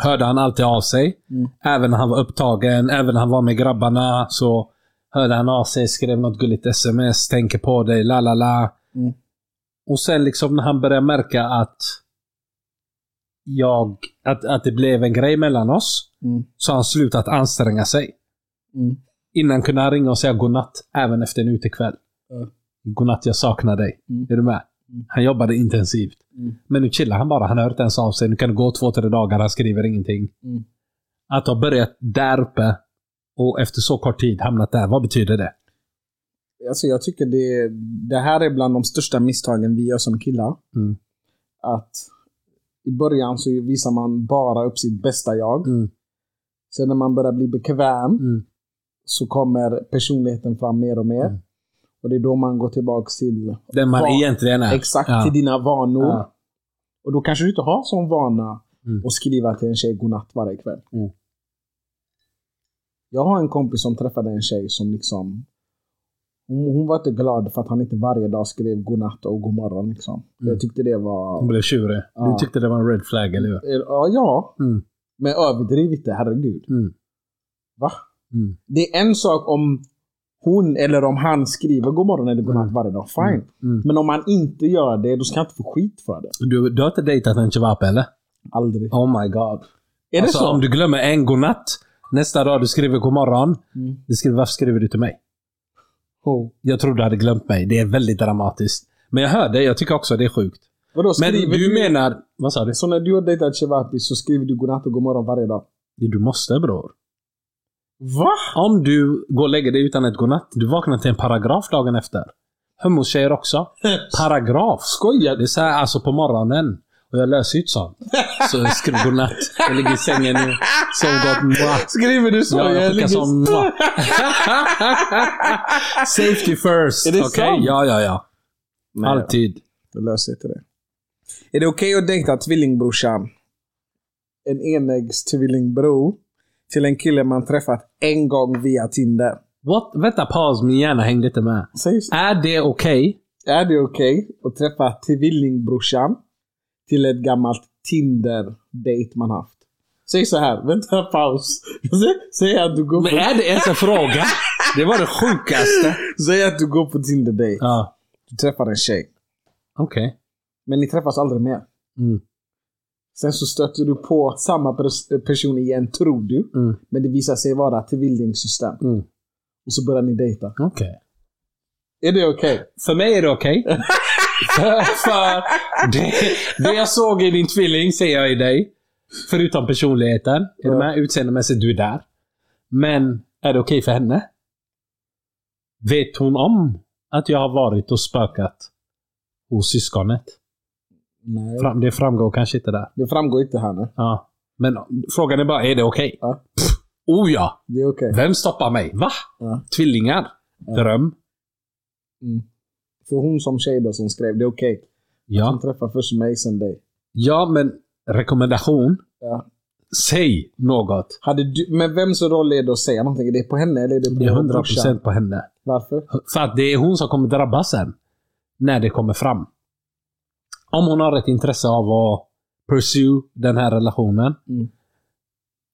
[SPEAKER 3] hörde han alltid av sig.
[SPEAKER 2] Mm.
[SPEAKER 3] Även när han var upptagen, även när han var med grabbarna så hörde han av sig, skrev något gulligt sms, tänker på dig, la la la.
[SPEAKER 2] Mm.
[SPEAKER 3] Och sen liksom när han började märka att jag, att, att det blev en grej mellan oss,
[SPEAKER 2] Mm.
[SPEAKER 3] så har han slutat anstränga sig.
[SPEAKER 2] Mm.
[SPEAKER 3] Innan kunde han ringa och säga godnatt, även efter en utekväll.
[SPEAKER 2] Ja.
[SPEAKER 3] Godnatt, jag saknar dig.
[SPEAKER 2] Mm.
[SPEAKER 3] Är du med?
[SPEAKER 2] Mm.
[SPEAKER 3] Han jobbade intensivt.
[SPEAKER 2] Mm.
[SPEAKER 3] Men nu chillar han bara. Han hör inte ens av sig. Nu kan det gå två, tre dagar. Han skriver ingenting.
[SPEAKER 2] Mm.
[SPEAKER 3] Att ha börjat där uppe och efter så kort tid hamnat där. Vad betyder det?
[SPEAKER 2] Alltså jag tycker det, det här är bland de största misstagen vi gör som killar.
[SPEAKER 3] Mm.
[SPEAKER 2] Att i början så visar man bara upp sitt bästa jag.
[SPEAKER 3] Mm.
[SPEAKER 2] Sen när man börjar bli bekväm
[SPEAKER 3] Mm.
[SPEAKER 2] så kommer personligheten fram mer och mer.
[SPEAKER 3] Mm.
[SPEAKER 2] Och det är då man går tillbaka till,
[SPEAKER 3] Den man
[SPEAKER 2] Ja.
[SPEAKER 3] egentligen är.
[SPEAKER 2] exakt
[SPEAKER 3] Ja.
[SPEAKER 2] till dina vanor.
[SPEAKER 3] Ja.
[SPEAKER 2] Och då kanske du inte har sån vana
[SPEAKER 3] Mm.
[SPEAKER 2] att skriva till en tjej godnatt varje kväll.
[SPEAKER 3] Mm.
[SPEAKER 2] Jag har en kompis som träffade en tjej som liksom hon, hon var inte glad för att han inte varje dag skrev godnatt och godmorgon. Liksom.
[SPEAKER 3] Mm.
[SPEAKER 2] Jag tyckte det var...
[SPEAKER 3] Hon blev tjurig.
[SPEAKER 2] Ja.
[SPEAKER 3] Du tyckte det var en red flag, eller hur?
[SPEAKER 2] Ja, ja.
[SPEAKER 3] Mm.
[SPEAKER 2] Men överdriv inte, herregud.
[SPEAKER 3] Mm.
[SPEAKER 2] Va?
[SPEAKER 3] Mm.
[SPEAKER 2] Det är en sak om hon eller om han skriver god morgon eller godnatt
[SPEAKER 3] Mm.
[SPEAKER 2] varje dag. Fine.
[SPEAKER 3] Mm.
[SPEAKER 2] Men om han inte gör det, då ska han inte få skit för det.
[SPEAKER 3] Du, du har inte dejtat en chivap, eller?
[SPEAKER 2] Aldrig.
[SPEAKER 3] Oh my god.
[SPEAKER 2] Är
[SPEAKER 3] alltså,
[SPEAKER 2] det så?
[SPEAKER 3] om du glömmer en godnatt, nästa dag du skriver godmorgon,
[SPEAKER 2] Mm.
[SPEAKER 3] du skriver, varför skriver du till mig?
[SPEAKER 2] Oh.
[SPEAKER 3] Jag tror du hade glömt mig. Det är väldigt dramatiskt. Men jag hörde, jag tycker också det är sjukt.
[SPEAKER 2] Vadå,
[SPEAKER 3] Men
[SPEAKER 2] skriver
[SPEAKER 3] du menar... Vad sa du?
[SPEAKER 2] Så när du har dejtat Chewapi så skriver du godnatt och godmorgon varje dag?
[SPEAKER 3] Du måste bror.
[SPEAKER 2] Va?
[SPEAKER 3] Om du går och lägger dig utan ett godnatt, du vaknar till en paragraf dagen efter. Hummus-tjejer också. Paragraf.
[SPEAKER 2] Skojar
[SPEAKER 3] Det är
[SPEAKER 2] du?
[SPEAKER 3] så här alltså på morgonen. Och jag löser ju inte sånt. Så jag skriver godnatt. Jag ligger i sängen nu. Sov gott. Mwah.
[SPEAKER 2] Skriver du så?
[SPEAKER 3] Ja, jag skickar
[SPEAKER 2] ligger-
[SPEAKER 3] som
[SPEAKER 2] <laughs>
[SPEAKER 3] mwah. Safety first.
[SPEAKER 2] Är det
[SPEAKER 3] Okej?
[SPEAKER 2] sant?
[SPEAKER 3] Ja, ja, ja.
[SPEAKER 2] Nej,
[SPEAKER 3] Alltid.
[SPEAKER 2] Det löser inte det. Är det okej att dejta tvillingbrorsan? En enäggs tvillingbror till en kille man träffat en gång via Tinder.
[SPEAKER 3] What? Vänta, paus. Min hjärna hängde inte med.
[SPEAKER 2] Säg
[SPEAKER 3] Är det okej?
[SPEAKER 2] Är det okej att träffa tvillingbrorsan till ett gammalt Tinder-date man haft? Säg så här, vänta paus. Säg- Säg att du går
[SPEAKER 3] Men
[SPEAKER 2] på,
[SPEAKER 3] är det ens en
[SPEAKER 2] <laughs>
[SPEAKER 3] fråga? Det var det sjukaste.
[SPEAKER 2] säg att du går på Tinder-date.
[SPEAKER 3] Ja,
[SPEAKER 2] Du träffar en tjej.
[SPEAKER 3] okej.
[SPEAKER 2] Men ni träffas aldrig mer.
[SPEAKER 3] Mm.
[SPEAKER 2] Sen så stöter du på samma pers- person igen, tror du.
[SPEAKER 3] Mm.
[SPEAKER 2] Men det visar sig vara tvillingsyster.
[SPEAKER 3] Mm.
[SPEAKER 2] Och så börjar ni dejta.
[SPEAKER 3] Okej.
[SPEAKER 2] Är det okej?
[SPEAKER 3] För mig är det
[SPEAKER 2] <laughs>
[SPEAKER 3] okej. för för det, det jag såg i din tvilling ser jag i dig. Förutom personligheten. Är du
[SPEAKER 2] Ja.
[SPEAKER 3] med? Utseendemässigt, du är där. Men är det okej för henne? Vet hon om att jag har varit och spökat hos syskonet?
[SPEAKER 2] Nej.
[SPEAKER 3] Fram, det framgår kanske inte där.
[SPEAKER 2] Det framgår inte här nu.
[SPEAKER 3] Ja. Men frågan är bara, är det okej?
[SPEAKER 2] Ja.
[SPEAKER 3] Pff, Oh ja!
[SPEAKER 2] Det är okej.
[SPEAKER 3] Vem stoppar mig? Va?
[SPEAKER 2] Ja.
[SPEAKER 3] Tvillingar? Dröm?
[SPEAKER 2] Mm. För hon som tjej då som skrev, det är okej. Hon
[SPEAKER 3] Ja.
[SPEAKER 2] träffar först mig, sen dig.
[SPEAKER 3] ja, men rekommendation?
[SPEAKER 2] Ja.
[SPEAKER 3] Säg något.
[SPEAKER 2] Hade du, men vems roll är det att säga någonting? Är det på henne eller är det på
[SPEAKER 3] Det är 100
[SPEAKER 2] brorsan?
[SPEAKER 3] procent på henne.
[SPEAKER 2] Varför?
[SPEAKER 3] För att det är hon som kommer drabbas sen. När det kommer fram. Om hon har ett intresse av att pursue den här relationen.
[SPEAKER 2] Mm.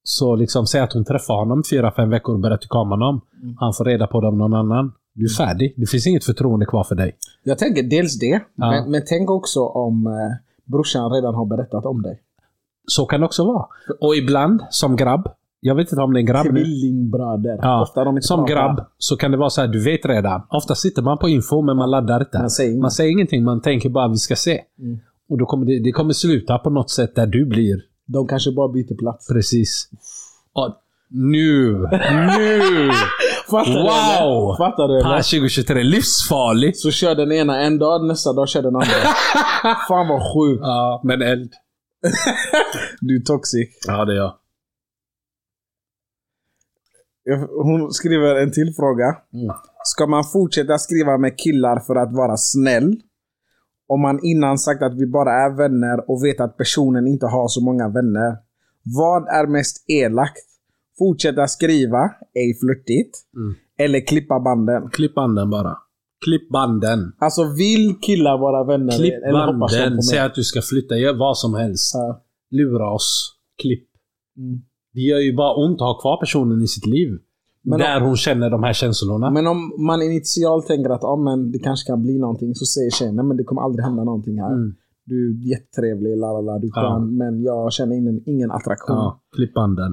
[SPEAKER 3] Så liksom säg att hon träffar honom fyra, fem veckor och börjar tycka om honom.
[SPEAKER 2] Mm.
[SPEAKER 3] Han får reda på det av någon annan. Du är färdig. Det finns inget förtroende kvar för dig.
[SPEAKER 2] Jag tänker dels det,
[SPEAKER 3] Ja.
[SPEAKER 2] men, men tänk också om eh, brorsan redan har berättat om dig.
[SPEAKER 3] Så kan det också vara. Och ibland, som grabb. Jag vet inte om det är en grabb nu.
[SPEAKER 2] Tvillingbröder.
[SPEAKER 3] Ja.
[SPEAKER 2] Ofta de inte
[SPEAKER 3] Som
[SPEAKER 2] pratar.
[SPEAKER 3] grabb så kan det vara så här, du vet redan. Ofta sitter man på info men man laddar inte.
[SPEAKER 2] Man säger inget.
[SPEAKER 3] man säger ingenting, man tänker bara vi ska se.
[SPEAKER 2] Mm.
[SPEAKER 3] Och då kommer det, det kommer sluta på något sätt där du blir
[SPEAKER 2] De kanske bara byter plats.
[SPEAKER 3] precis. Ja, nu!
[SPEAKER 2] <laughs>
[SPEAKER 3] Nu!
[SPEAKER 2] Fattar du eller?
[SPEAKER 3] Wow!
[SPEAKER 2] Fattar du
[SPEAKER 3] Här
[SPEAKER 2] eller?
[SPEAKER 3] 2023, livsfarligt!
[SPEAKER 2] Så kör den ena en dag, nästa dag kör den andra.
[SPEAKER 3] <laughs>
[SPEAKER 2] Fan vad sjukt.
[SPEAKER 3] Ja, men eld.
[SPEAKER 2] Du är toxic.
[SPEAKER 3] Ja, det är jag.
[SPEAKER 2] Jag- Hon skriver en till fråga.
[SPEAKER 3] Mm.
[SPEAKER 2] Ska man fortsätta skriva med killar för att vara snäll? Om man innan sagt att vi bara är vänner och vet att personen inte har så många vänner. Vad är mest elakt? Fortsätta skriva, ej flörtigt.
[SPEAKER 3] Mm.
[SPEAKER 2] Eller klippa banden.
[SPEAKER 3] Klipp banden bara. Klipp banden.
[SPEAKER 2] Alltså vill killar vara vänner?
[SPEAKER 3] Klipp
[SPEAKER 2] eller hoppas de på
[SPEAKER 3] banden.
[SPEAKER 2] mig?
[SPEAKER 3] Säg att du ska flytta, gör vad som helst.
[SPEAKER 2] Ja.
[SPEAKER 3] Lura oss. Klipp.
[SPEAKER 2] Mm.
[SPEAKER 3] Det gör ju bara ont att ha kvar personen i sitt liv.
[SPEAKER 2] Men
[SPEAKER 3] där hon känner de här känslorna.
[SPEAKER 2] Men om man initialt tänker att ah, men det kanske kan bli någonting så säger tjejen nej men det kommer aldrig hända någonting här.
[SPEAKER 3] Mm.
[SPEAKER 2] Du är jättetrevlig, la, la, la, du är
[SPEAKER 3] Ja.
[SPEAKER 2] skön, men jag känner ingen, ingen attraktion.
[SPEAKER 3] Ja, klipp banden.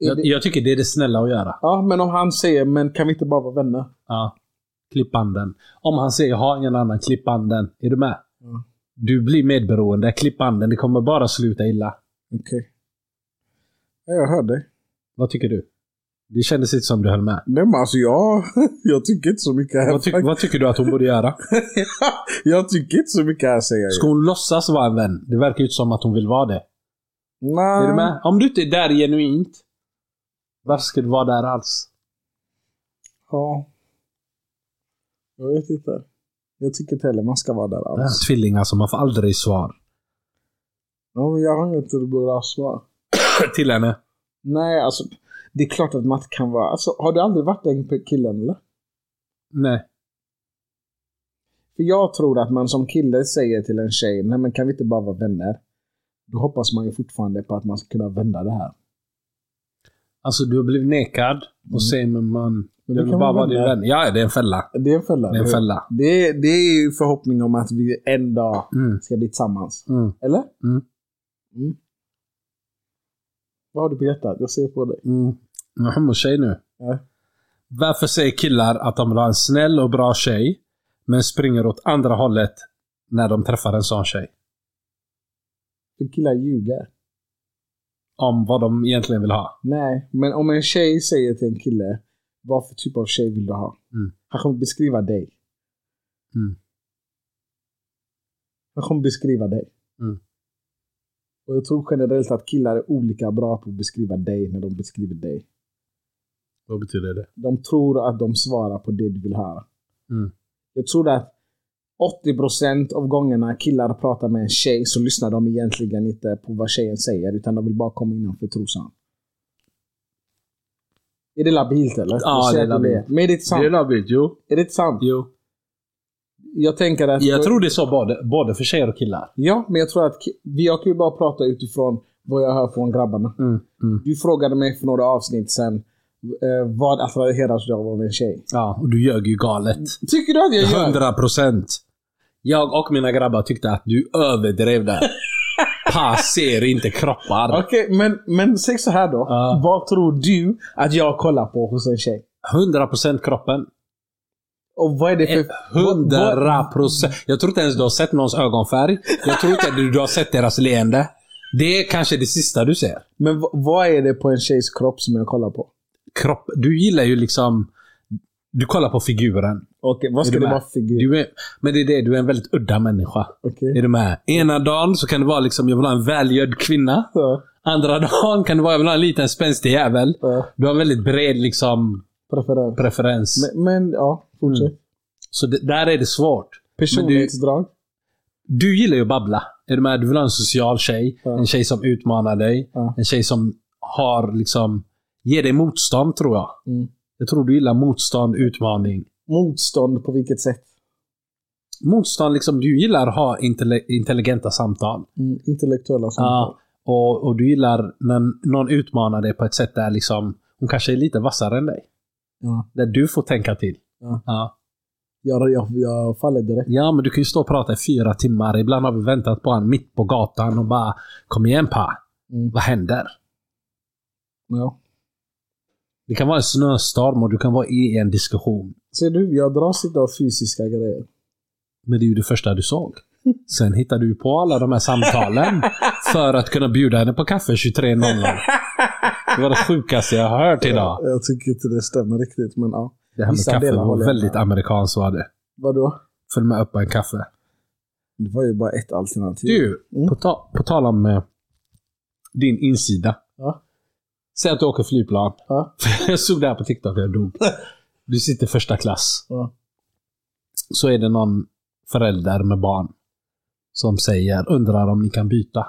[SPEAKER 2] Är
[SPEAKER 3] Jag,
[SPEAKER 2] det,
[SPEAKER 3] jag tycker det är det snälla att göra.
[SPEAKER 2] ja, men om han säger men kan vi inte bara vara vänner?
[SPEAKER 3] Ja. Klipp banden. Om han säger ha ingen annan, klipp banden. Är du med?
[SPEAKER 2] Ja.
[SPEAKER 3] Du blir medberoende. Klipp banden. Det kommer bara sluta illa.
[SPEAKER 2] Okej. Ja, jag hör dig.
[SPEAKER 3] Vad tycker du? Det kändes inte som du höll med.
[SPEAKER 2] Nej men alltså jag, <laughs> jag tycker inte så mycket här.
[SPEAKER 3] Vad, tyck- vad tycker du att hon borde
[SPEAKER 2] <laughs>
[SPEAKER 3] göra?
[SPEAKER 2] jag tycker inte så mycket här säger jag ju.
[SPEAKER 3] Ska hon låtsas vara en vän? Det verkar ju inte som att hon vill vara det.
[SPEAKER 2] Nej.
[SPEAKER 3] Är du med? Om du inte är där genuint, varför ska du vara där alls?
[SPEAKER 2] Ja. Jag vet inte. Jag tycker inte heller man ska vara där
[SPEAKER 3] Det här
[SPEAKER 2] alls.
[SPEAKER 3] är tvillingar som man får aldrig svar <clears throat>
[SPEAKER 2] Ja, men jag har inget bra svar.
[SPEAKER 3] till henne.
[SPEAKER 2] Nej, alltså. Det är klart att man inte kan vara... Alltså, har du aldrig varit den killen eller?
[SPEAKER 3] Nej.
[SPEAKER 2] För jag tror att man som kille säger till en tjej, nej men kan vi inte bara vara vänner? Då hoppas man ju fortfarande på att man ska kunna vända det här.
[SPEAKER 3] Alltså du har blivit nekad och säger men man...
[SPEAKER 2] Mm.
[SPEAKER 3] Jag
[SPEAKER 2] Men det
[SPEAKER 3] vill
[SPEAKER 2] kan
[SPEAKER 3] bara
[SPEAKER 2] man
[SPEAKER 3] vara din
[SPEAKER 2] vända.
[SPEAKER 3] vän. Ja, det är en fälla.
[SPEAKER 2] Det är en fälla.
[SPEAKER 3] Det är en fälla.
[SPEAKER 2] Det, det är ju förhoppning om att vi en dag
[SPEAKER 3] Mm.
[SPEAKER 2] ska bli tillsammans.
[SPEAKER 3] Mm.
[SPEAKER 2] Eller?
[SPEAKER 3] Mm.
[SPEAKER 2] Mm. Vad har du på hjärtat? Jag ser på dig.
[SPEAKER 3] Mm. Jag har en tjej nu.
[SPEAKER 2] Ja.
[SPEAKER 3] Varför säger killar att de vill ha en snäll och bra tjej, men springer åt andra hållet när de träffar en sån tjej?
[SPEAKER 2] För killar ljuger.
[SPEAKER 3] Om vad de egentligen vill ha.
[SPEAKER 2] Nej, men om en tjej säger till en kille, vad för typ av tjej vill du ha?
[SPEAKER 3] Mm.
[SPEAKER 2] Han kommer beskriva dig.
[SPEAKER 3] Mm.
[SPEAKER 2] Han kommer beskriva dig.
[SPEAKER 3] Mm.
[SPEAKER 2] Och jag tror generellt att killar är olika bra på att beskriva dig när de beskriver dig.
[SPEAKER 3] Vad betyder det?
[SPEAKER 2] De tror att de svarar på det du vill höra.
[SPEAKER 3] Mm.
[SPEAKER 2] Jag tror att 80% av gångerna killar pratar med en tjej så lyssnar de egentligen inte på vad tjejen säger utan de vill bara komma innanför trosan. Är det labilt eller?
[SPEAKER 3] Ja,
[SPEAKER 2] Jag ser
[SPEAKER 3] det är
[SPEAKER 2] att du
[SPEAKER 3] labilt.
[SPEAKER 2] Men är det inte sant?
[SPEAKER 3] Det är labilt, jo.
[SPEAKER 2] Är det inte sant?
[SPEAKER 3] jo.
[SPEAKER 2] Jag tänker att...
[SPEAKER 3] Jag tror det är så både, både för tjejer och killar.
[SPEAKER 2] Ja, men jag tror att ki- vi- jag kan ju bara prata utifrån vad jag hör från grabbarna.
[SPEAKER 3] Mm. Mm.
[SPEAKER 2] Du frågade mig för några avsnitt sen eh, vad attraheras jag av en tjej?
[SPEAKER 3] Ja, och du ljög ju galet.
[SPEAKER 2] Tycker du att jag gör?
[SPEAKER 3] 100 procent. Jag och mina grabbar tyckte att du överdrev <laughs> där. Pa ser inte kroppar.
[SPEAKER 2] Okej, men, men säg så här då.
[SPEAKER 3] Ja.
[SPEAKER 2] Vad tror du att jag kollar på hos en tjej?
[SPEAKER 3] 100 procent kroppen.
[SPEAKER 2] Och vad är det för...
[SPEAKER 3] Eh,
[SPEAKER 2] vad- vad-
[SPEAKER 3] 100 procent. Jag tror inte ens du har sett någons ögonfärg. Jag tror inte du, du har sett deras leende. Det är kanske det sista du ser.
[SPEAKER 2] Men v- vad är det på en tjejs kropp som jag kollar på?
[SPEAKER 3] Kropp. Du gillar ju liksom... Du kollar på figuren.
[SPEAKER 2] Okej, vad
[SPEAKER 3] Är
[SPEAKER 2] ska
[SPEAKER 3] du
[SPEAKER 2] det
[SPEAKER 3] med?
[SPEAKER 2] vara för figur?
[SPEAKER 3] Du är, men det är det, du är en väldigt udda människa.
[SPEAKER 2] Okej.
[SPEAKER 3] Är du med? Ena dagen så kan det vara liksom, jag vill ha en välgödd kvinna.
[SPEAKER 2] Ja,
[SPEAKER 3] Andra <laughs> dagen kan det vara, jag vill ha en liten spänstig jävel.
[SPEAKER 2] ja,
[SPEAKER 3] Du har en väldigt bred liksom
[SPEAKER 2] preferens.
[SPEAKER 3] preferens.
[SPEAKER 2] Men, men ja,
[SPEAKER 3] Mm.
[SPEAKER 2] fortsätt.
[SPEAKER 3] så det, där är det svårt.
[SPEAKER 2] Personlighetsdrag.
[SPEAKER 3] Du gillar ju att babbla. Är du med? Du vill ha en social tjej.
[SPEAKER 2] Ja.
[SPEAKER 3] En tjej som utmanar dig.
[SPEAKER 2] Ja.
[SPEAKER 3] En tjej som har liksom, ger dig motstånd tror jag.
[SPEAKER 2] Mm.
[SPEAKER 3] Jag tror du gillar motstånd, utmaning.
[SPEAKER 2] Motstånd på vilket sätt?
[SPEAKER 3] Motstånd, liksom, du gillar att ha intelle- intelligenta samtal.
[SPEAKER 2] Mm, intellektuella samtal.
[SPEAKER 3] Ja, och, och du gillar när någon utmanar dig på ett sätt där liksom, hon kanske är lite vassare än dig.
[SPEAKER 2] Ja.
[SPEAKER 3] Där du får tänka till.
[SPEAKER 2] Ja.
[SPEAKER 3] Ja.
[SPEAKER 2] Jag, jag, jag faller direkt.
[SPEAKER 3] Ja, men du kan ju stå och prata i fyra timmar. Ibland har vi väntat på honom mitt på gatan och bara Kom igen pa,
[SPEAKER 2] Mm.
[SPEAKER 3] vad händer?
[SPEAKER 2] Ja.
[SPEAKER 3] Det kan vara en snöstorm och du kan vara i en diskussion.
[SPEAKER 2] Ser du, jag dras inte av fysiska grejer.
[SPEAKER 3] Men det är ju det första du såg. Sen hittar du ju på alla de här samtalen för att kunna bjuda henne på kaffe 23.00. Det var det sjukaste jag har hört idag.
[SPEAKER 2] Jag tycker inte det stämmer riktigt, men ja.
[SPEAKER 3] Det här med
[SPEAKER 2] Vissa
[SPEAKER 3] kaffe
[SPEAKER 2] delar
[SPEAKER 3] var
[SPEAKER 2] håller jag
[SPEAKER 3] väldigt
[SPEAKER 2] med.
[SPEAKER 3] amerikanskt var det.
[SPEAKER 2] Vadå?
[SPEAKER 3] Följ med upp på en kaffe.
[SPEAKER 2] Det var ju bara ett alternativ.
[SPEAKER 3] Du,
[SPEAKER 2] Mm.
[SPEAKER 3] på, ta- på tal om eh, din insida.
[SPEAKER 2] Ja.
[SPEAKER 3] Säg att du åker flygplan.
[SPEAKER 2] Ja.
[SPEAKER 3] <laughs> Jag såg det här på TikTok och jag
[SPEAKER 2] <laughs>
[SPEAKER 3] dog. Du sitter första klass.
[SPEAKER 2] Ja.
[SPEAKER 3] Så är det någon förälder med barn som säger, undrar om ni kan byta.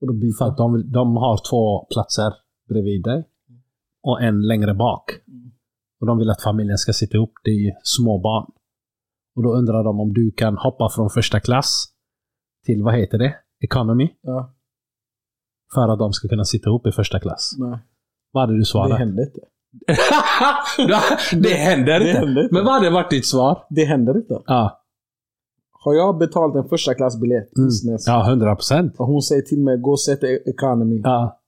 [SPEAKER 2] Och då byter
[SPEAKER 3] För att de, de har två platser bredvid dig och en längre bak. Och de vill att familjen ska sitta ihop. Det är ju små barn. Och då undrar de om du kan hoppa från första klass till, vad heter det? Economy.
[SPEAKER 2] Ja,
[SPEAKER 3] För att de ska kunna sitta ihop i första klass.
[SPEAKER 2] nej.
[SPEAKER 3] Vad hade du
[SPEAKER 2] Det
[SPEAKER 3] svarat? <laughs>
[SPEAKER 2] hände inte.
[SPEAKER 3] Det, händer
[SPEAKER 2] Det
[SPEAKER 3] inte.
[SPEAKER 2] händer inte.
[SPEAKER 3] Men vad hade varit ditt svar?
[SPEAKER 2] Det händer inte.
[SPEAKER 3] Ja,
[SPEAKER 2] Har jag betalt en första klassbiljett
[SPEAKER 3] Mm.
[SPEAKER 2] business,
[SPEAKER 3] ja 100 procent.
[SPEAKER 2] och hon säger till mig gå och sätt dig economy.
[SPEAKER 3] Ja.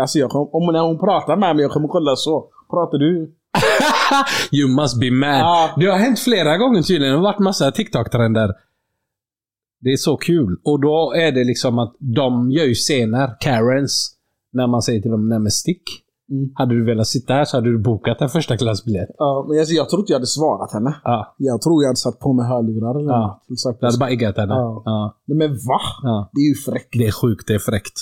[SPEAKER 2] Alltså jag kommer, om när hon pratar med mig, jag kommer kolla så. Pratar du?
[SPEAKER 3] You must be mad.
[SPEAKER 2] Ja.
[SPEAKER 3] Det har hänt flera gånger tydligen. Det har varit massa TikTok-trender. Det är så kul. Och då är det liksom att de gör ju scener, Karens, när man säger till dem nej men stick.
[SPEAKER 2] Mm.
[SPEAKER 3] Hade du velat sitta här så hade du bokat en första klassbiljett.
[SPEAKER 2] Ja, men alltså, jag tror inte jag hade svarat henne.
[SPEAKER 3] Ja.
[SPEAKER 2] Jag tror jag hade satt på mig hörlurar eller
[SPEAKER 3] Ja.
[SPEAKER 2] något. Och sagt,
[SPEAKER 3] Du hade bara eggat henne.
[SPEAKER 2] Ja.
[SPEAKER 3] Ja.
[SPEAKER 2] Nej, men va?
[SPEAKER 3] Ja.
[SPEAKER 2] Det är ju fräckt.
[SPEAKER 3] Det är sjukt, det är fräckt.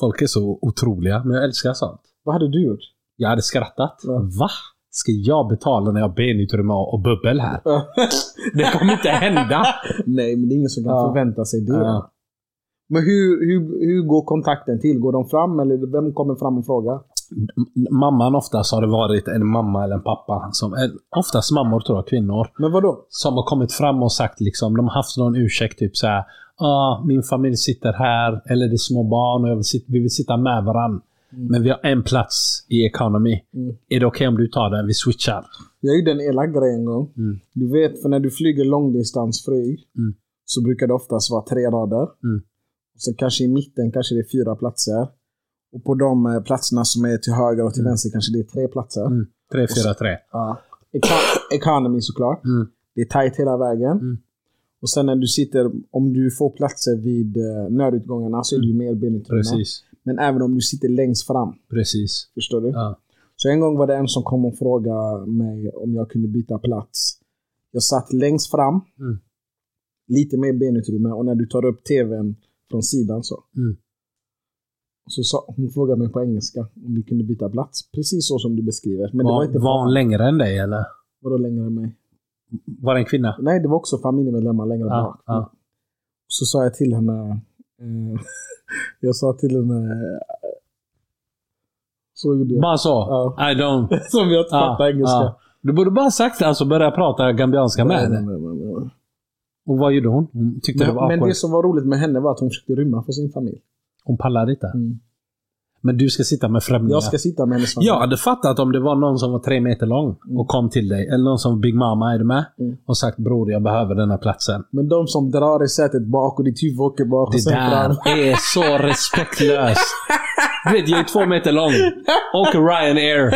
[SPEAKER 3] Folk är så otroliga, men jag älskar sånt.
[SPEAKER 2] Vad hade du gjort?
[SPEAKER 3] Jag hade skrattat.
[SPEAKER 2] Ja.
[SPEAKER 3] Va? Ska jag betala när jag har benutrymme och och bubbel här? Det kommer inte hända.
[SPEAKER 2] <laughs> Nej, men det är ingen som kan
[SPEAKER 3] Ja.
[SPEAKER 2] förvänta sig det.
[SPEAKER 3] Ja.
[SPEAKER 2] Men hur, hur, hur går kontakten till? Går de fram eller vem kommer fram och frågar?
[SPEAKER 3] M- Mamman oftast har det varit en mamma eller en pappa. Som, en- oftast mammor tror jag, kvinnor.
[SPEAKER 2] Men vadå?
[SPEAKER 3] Som har kommit fram och sagt liksom, de har haft någon ursäkt typ så här. Ah, min familj sitter här, eller det är små barn och jag vill sit- vi vill sitta med varann. Men vi har en plats i economy.
[SPEAKER 2] Mm.
[SPEAKER 3] Är det okej om du tar den? Vi switchar.
[SPEAKER 2] Jag gjorde en elak grej en gång.
[SPEAKER 3] Mm.
[SPEAKER 2] Du vet, för när du flyger långdistansflyg
[SPEAKER 3] Mm.
[SPEAKER 2] så brukar det oftast vara tre rader.
[SPEAKER 3] Mm.
[SPEAKER 2] Och sen kanske i mitten kanske det är fyra platser. Och på de eh, platserna som är till höger och till vänster kanske det är tre platser.
[SPEAKER 3] Mm. 3, 4, 3.
[SPEAKER 2] Ja. Eko- Economy såklart.
[SPEAKER 3] Mm.
[SPEAKER 2] Det är tight hela vägen.
[SPEAKER 3] Mm.
[SPEAKER 2] Och sen när du sitter, om du får platser vid eh, nödutgångarna så är det ju mer benutrymme.
[SPEAKER 3] Mm. Precis.
[SPEAKER 2] Men även om du sitter längst fram.
[SPEAKER 3] Precis.
[SPEAKER 2] Förstår du?
[SPEAKER 3] Ja.
[SPEAKER 2] Så en gång var det en som kom och frågade mig om jag kunde byta plats. Jag satt längst fram.
[SPEAKER 3] Mm.
[SPEAKER 2] Lite mer benutrymme och när du tar upp tvn från sidan så.
[SPEAKER 3] Mm.
[SPEAKER 2] Så sa, hon frågade mig på engelska om vi kunde byta plats. Precis så som du beskriver. Men det var
[SPEAKER 3] var,
[SPEAKER 2] inte
[SPEAKER 3] var hon längre än dig eller?
[SPEAKER 2] vadå längre än mig.
[SPEAKER 3] Var det en kvinna?
[SPEAKER 2] Nej, det var också familjemedlemmar längre
[SPEAKER 3] Ja,
[SPEAKER 2] bak.
[SPEAKER 3] ja.
[SPEAKER 2] Så sa jag till henne. Eh, <laughs> jag sa till henne. eh, Så gjorde jag.
[SPEAKER 3] Bara så?
[SPEAKER 2] Ja.
[SPEAKER 3] I don't...
[SPEAKER 2] <laughs> Som jag inte
[SPEAKER 3] Ja,
[SPEAKER 2] fattar engelska.
[SPEAKER 3] ja. Du borde bara sagt det, alltså börja prata gambianska ah. med
[SPEAKER 2] Nej,
[SPEAKER 3] henne.
[SPEAKER 2] nej, nej, nej, nej.
[SPEAKER 3] Och vad gjorde hon? Hon tyckte det var
[SPEAKER 2] Men, men
[SPEAKER 3] awkward.
[SPEAKER 2] det som var roligt med henne var att hon försökte rymma från sin familj.
[SPEAKER 3] Hon pallade inte.
[SPEAKER 2] Mm.
[SPEAKER 3] Men du ska sitta med främlingar.
[SPEAKER 2] Jag ska sitta med hennes familj.
[SPEAKER 3] Jag hade fattat om det var någon som var tre meter lång och kom till dig. Eller någon som Big Mama, är du med?
[SPEAKER 2] Mm.
[SPEAKER 3] Och sagt bror, jag behöver den här platsen.
[SPEAKER 2] Men de som drar i sätet bak och ditt huvud åker bak och
[SPEAKER 3] Det
[SPEAKER 2] sen
[SPEAKER 3] där
[SPEAKER 2] fram.
[SPEAKER 3] är så
[SPEAKER 2] <laughs>
[SPEAKER 3] respektlöst. Du vet, jag är två meter lång. Åker Ryanair.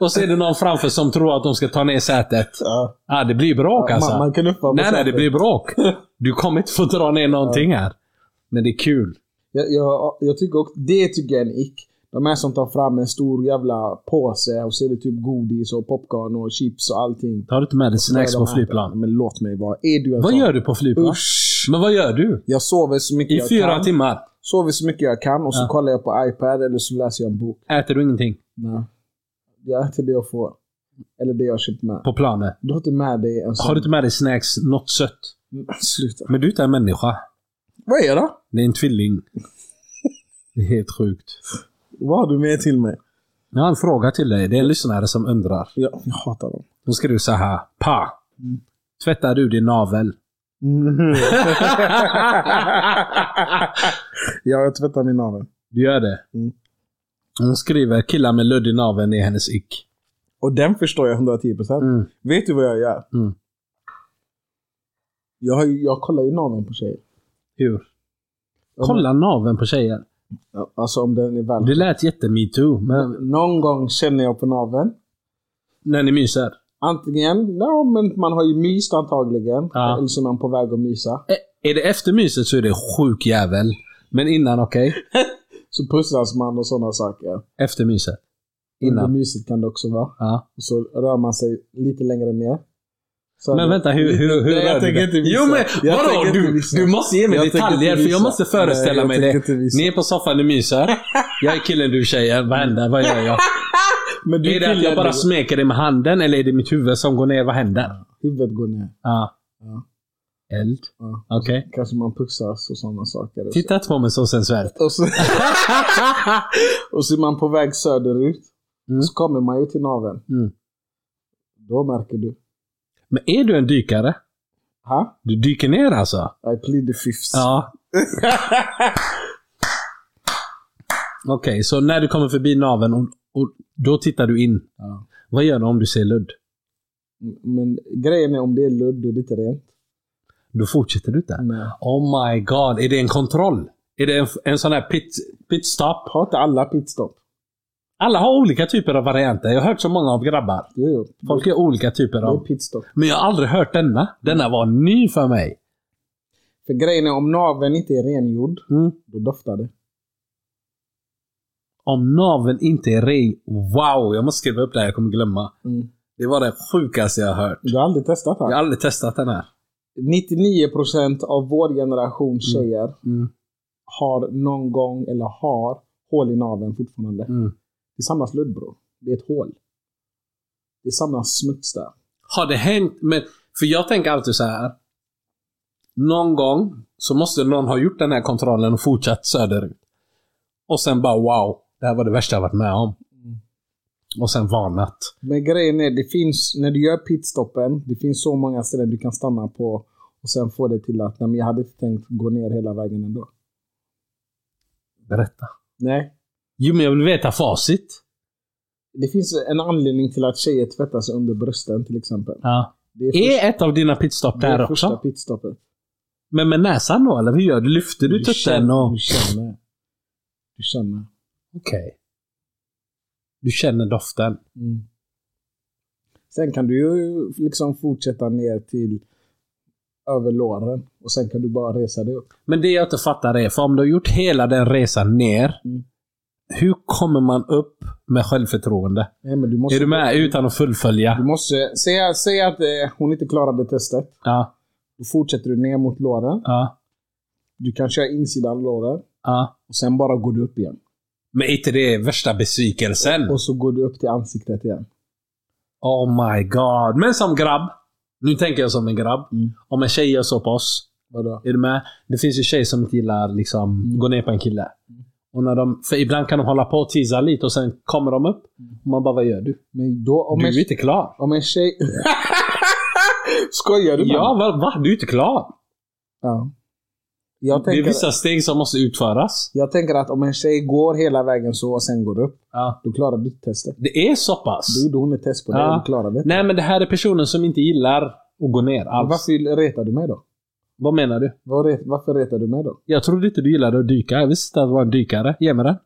[SPEAKER 3] Och så är det någon framför som tror att de ska ta ner sätet.
[SPEAKER 2] Ja.
[SPEAKER 3] Ja, det blir bråk alltså.
[SPEAKER 2] Man, man kan uppa på
[SPEAKER 3] nej, nej, det
[SPEAKER 2] sätet.
[SPEAKER 3] blir
[SPEAKER 2] <laughs>
[SPEAKER 3] bråk. Du kommer inte få dra ner någonting här. Men det är kul.
[SPEAKER 2] Jag, jag, jag tycker också, det tycker jag är en ick. De här som tar fram en stor jävla påse och så är det typ godis och popcorn och chips och allting.
[SPEAKER 3] Tar du inte med dig snacks
[SPEAKER 2] Vad är
[SPEAKER 3] på
[SPEAKER 2] de här?
[SPEAKER 3] flygplan?
[SPEAKER 2] Men låt mig vara. Är du en
[SPEAKER 3] Vad
[SPEAKER 2] sån?
[SPEAKER 3] gör du på flygplan?
[SPEAKER 2] Usch.
[SPEAKER 3] Men vad gör du?
[SPEAKER 2] Jag sover så mycket
[SPEAKER 3] I
[SPEAKER 2] jag
[SPEAKER 3] fyra
[SPEAKER 2] kan.
[SPEAKER 3] timmar
[SPEAKER 2] Sover så mycket jag kan och så
[SPEAKER 3] Ja.
[SPEAKER 2] kollar jag på iPad eller så läser jag en bok.
[SPEAKER 3] äter du ingenting
[SPEAKER 2] Nej. Jag äter det jag får. Eller det jag har köpt med.
[SPEAKER 3] på planet.
[SPEAKER 2] Du har inte med dig en sån.
[SPEAKER 3] Har du inte med dig snacks, något sött?
[SPEAKER 2] Sluta.
[SPEAKER 3] Men du är inte en människa.
[SPEAKER 2] Vad är det?
[SPEAKER 3] Det är en tvilling. Det är helt sjukt.
[SPEAKER 2] Vad har du med till mig?
[SPEAKER 3] Jag har en fråga till dig. Det är en lyssnare som undrar.
[SPEAKER 2] Jag, jag
[SPEAKER 3] <laughs>
[SPEAKER 2] hatar dem.
[SPEAKER 3] Då ska du säga här. Pa!
[SPEAKER 2] Mm.
[SPEAKER 3] Tvättar du din navel?
[SPEAKER 2] Ja, jag tvättar min navel.
[SPEAKER 3] Du gör det?
[SPEAKER 2] Mm.
[SPEAKER 3] Hon skriver killar med ludd i naveln är hennes ick.
[SPEAKER 2] Och den förstår jag 110%.
[SPEAKER 3] Mm.
[SPEAKER 2] Vet du vad jag gör?
[SPEAKER 3] Mm.
[SPEAKER 2] Jag, har ju- jag kollar ju naveln på tjejer.
[SPEAKER 3] Hur? Kolla naveln på tjejer.
[SPEAKER 2] Ja, Alltså om den är väl...
[SPEAKER 3] Det lät jättemetoo, men
[SPEAKER 2] Någon gång känner jag på naveln.
[SPEAKER 3] när ni myser.
[SPEAKER 2] Antingen, ja men man har ju myst antagligen.
[SPEAKER 3] Ja.
[SPEAKER 2] Eller så är man på väg att mysa.
[SPEAKER 3] Ä- Är det efter myset så är det sjuk jävel. Men innan, okej?
[SPEAKER 2] Så pussas man och sådana saker.
[SPEAKER 3] Efter myset.
[SPEAKER 2] Under
[SPEAKER 3] Innan.
[SPEAKER 2] myset kan det också vara.
[SPEAKER 3] Ja.
[SPEAKER 2] Och så rör man sig lite längre ner. Så
[SPEAKER 3] Men vänta, hur, hur, hur
[SPEAKER 2] Nej, jag
[SPEAKER 3] rör du
[SPEAKER 2] tänker
[SPEAKER 3] dig?
[SPEAKER 2] inte visa.
[SPEAKER 3] Jo men
[SPEAKER 2] Jag
[SPEAKER 3] vadå?
[SPEAKER 2] tänker inte
[SPEAKER 3] Du,
[SPEAKER 2] visa.
[SPEAKER 3] du måste ge mig
[SPEAKER 2] Jag tänker
[SPEAKER 3] detaljer
[SPEAKER 2] inte
[SPEAKER 3] för jag
[SPEAKER 2] visa.
[SPEAKER 3] måste föreställa
[SPEAKER 2] Nej,
[SPEAKER 3] mig
[SPEAKER 2] jag
[SPEAKER 3] det.
[SPEAKER 2] tänker inte visa.
[SPEAKER 3] Ni är på soffan, ni myser. Jag är killen, du är tjejen. Vad händer? Vad gör jag?
[SPEAKER 2] Men du
[SPEAKER 3] Är det att
[SPEAKER 2] killen,
[SPEAKER 3] jag bara
[SPEAKER 2] du-
[SPEAKER 3] smeker dig med handen eller är det mitt huvud som går ner? Vad händer?
[SPEAKER 2] Huvudet går ner.
[SPEAKER 3] Ja.
[SPEAKER 2] Ja.
[SPEAKER 3] Eld?
[SPEAKER 2] Ja.
[SPEAKER 3] Okej.
[SPEAKER 2] Kanske man pussas och sådana saker. Och så-
[SPEAKER 3] Titta inte på mig så sensuellt.
[SPEAKER 2] Och så, <laughs> och så är man på väg söderut.
[SPEAKER 3] Mm.
[SPEAKER 2] Så kommer man ju till naveln.
[SPEAKER 3] Mm.
[SPEAKER 2] Då märker du.
[SPEAKER 3] Men är du en dykare?
[SPEAKER 2] Ha?
[SPEAKER 3] Du dyker ner alltså?
[SPEAKER 2] I plead the fifth.
[SPEAKER 3] Ja. <laughs> Okej, så när du kommer förbi naveln och, och då tittar du in.
[SPEAKER 2] Ja.
[SPEAKER 3] Vad gör du om du ser ludd?
[SPEAKER 2] Men grejen är om det är ludd och lite rent.
[SPEAKER 3] Då fortsätter du inte.
[SPEAKER 2] Nej.
[SPEAKER 3] Oh my god, är det en kontroll? Är det en, en sån här pit, pitstop?
[SPEAKER 2] Har inte alla pitstop?
[SPEAKER 3] Alla har olika typer av varianter. Jag har hört så många av grabbar.
[SPEAKER 2] Jo, jo.
[SPEAKER 3] Folk gör olika typer
[SPEAKER 2] Det är
[SPEAKER 3] av.
[SPEAKER 2] pitstop.
[SPEAKER 3] Men jag har aldrig hört denna. Denna var ny för mig.
[SPEAKER 2] För grejen är om naveln inte är rengjord,
[SPEAKER 3] Mm.
[SPEAKER 2] då doftar det.
[SPEAKER 3] Om naveln inte är ren. Wow, jag måste skriva upp det här. Jag kommer glömma.
[SPEAKER 2] Mm.
[SPEAKER 3] Det var det sjukaste jag har hört.
[SPEAKER 2] Du har aldrig testat
[SPEAKER 3] Jag
[SPEAKER 2] här.
[SPEAKER 3] har aldrig testat den här.
[SPEAKER 2] 99% av vår
[SPEAKER 3] Mm.
[SPEAKER 2] generation tjejer har någon gång, eller har, hål i naveln fortfarande.
[SPEAKER 3] Mm.
[SPEAKER 2] Det samlas ludd bro. Det är ett hål. Det samlas smuts där.
[SPEAKER 3] Har det hänt? Men, för jag tänker alltid så här. Någon gång så måste någon ha gjort den här kontrollen och fortsatt söderut. Och sen bara wow, det här var det värsta jag varit med om.
[SPEAKER 2] Mm.
[SPEAKER 3] Och sen varnat.
[SPEAKER 2] Men grejen är, det finns, när du gör pitstoppen, det finns så många ställen du kan stanna på och sen få det till att nej, men jag hade inte tänkt gå ner hela vägen ändå.
[SPEAKER 3] Berätta.
[SPEAKER 2] Nej.
[SPEAKER 3] Jo, men jag vill veta facit.
[SPEAKER 2] Det finns en anledning till att tjejer tvättar sig under brösten till exempel.
[SPEAKER 3] Ja.
[SPEAKER 2] Det är, först-
[SPEAKER 3] Är ett av dina pitstop
[SPEAKER 2] det är
[SPEAKER 3] där
[SPEAKER 2] första
[SPEAKER 3] också?
[SPEAKER 2] pitstoppet.
[SPEAKER 3] Men med näsan då, eller hur gör du? Lyfter du tutten
[SPEAKER 2] känner,
[SPEAKER 3] och...
[SPEAKER 2] du känner. Du känner.
[SPEAKER 3] Okej. Du känner doften.
[SPEAKER 2] Mm. Sen kan du ju liksom fortsätta ner till över låren och sen kan du bara resa dig upp.
[SPEAKER 3] Men det jag inte fattar är, för om du har gjort hela den resan ner,
[SPEAKER 2] Mm.
[SPEAKER 3] hur kommer man upp med självförtroende?
[SPEAKER 2] Nej, men du måste,
[SPEAKER 3] Är du med? Utan att fullfölja?
[SPEAKER 2] Du måste säga, säga att eh, hon inte klarade testet.
[SPEAKER 3] Ja,
[SPEAKER 2] Då fortsätter du ner mot låren.
[SPEAKER 3] ja,
[SPEAKER 2] Du kan köra insidan låren
[SPEAKER 3] ja.
[SPEAKER 2] och sen bara går du upp igen.
[SPEAKER 3] Men är inte det värsta besvikelsen?
[SPEAKER 2] Och så går du upp till ansiktet igen.
[SPEAKER 3] Oh my god. Men som grabb. Nu tänker jag som en grabb.
[SPEAKER 2] Mm.
[SPEAKER 3] Om en tjej gör så på oss.
[SPEAKER 2] Vadå?
[SPEAKER 3] Är du med? Det finns ju tjejer som inte gillar liksom
[SPEAKER 2] Mm.
[SPEAKER 3] gå ner på en kille. Och när de, för ibland kan de hålla på och teasa lite och sen kommer de upp.
[SPEAKER 2] Mm.
[SPEAKER 3] Och man bara, vad gör du?
[SPEAKER 2] Men då om
[SPEAKER 3] du
[SPEAKER 2] en,
[SPEAKER 3] är inte klar.
[SPEAKER 2] om en tjej... <laughs> Skojar du med
[SPEAKER 3] Ja,
[SPEAKER 2] mig?
[SPEAKER 3] va, va? Du är inte klar.
[SPEAKER 2] ja. Jag
[SPEAKER 3] Det är
[SPEAKER 2] tänker,
[SPEAKER 3] vissa steg som måste utföras.
[SPEAKER 2] jag tänker att om en tjej går hela vägen så och sen går upp.
[SPEAKER 3] Ja.
[SPEAKER 2] Då klarar du testet.
[SPEAKER 3] Det är så pass.
[SPEAKER 2] Då gjorde hon ett test på dig
[SPEAKER 3] Ja.
[SPEAKER 2] och du klarade det.
[SPEAKER 3] Nej, men det här är personen som inte gillar att gå ner alls.
[SPEAKER 2] Varför retar du mig då?
[SPEAKER 3] Vad menar du?
[SPEAKER 2] Var re- Varför retar du mig då?
[SPEAKER 3] Jag trodde inte du gillade att dyka. Jag visste inte att du var en dykare. Ge mig den.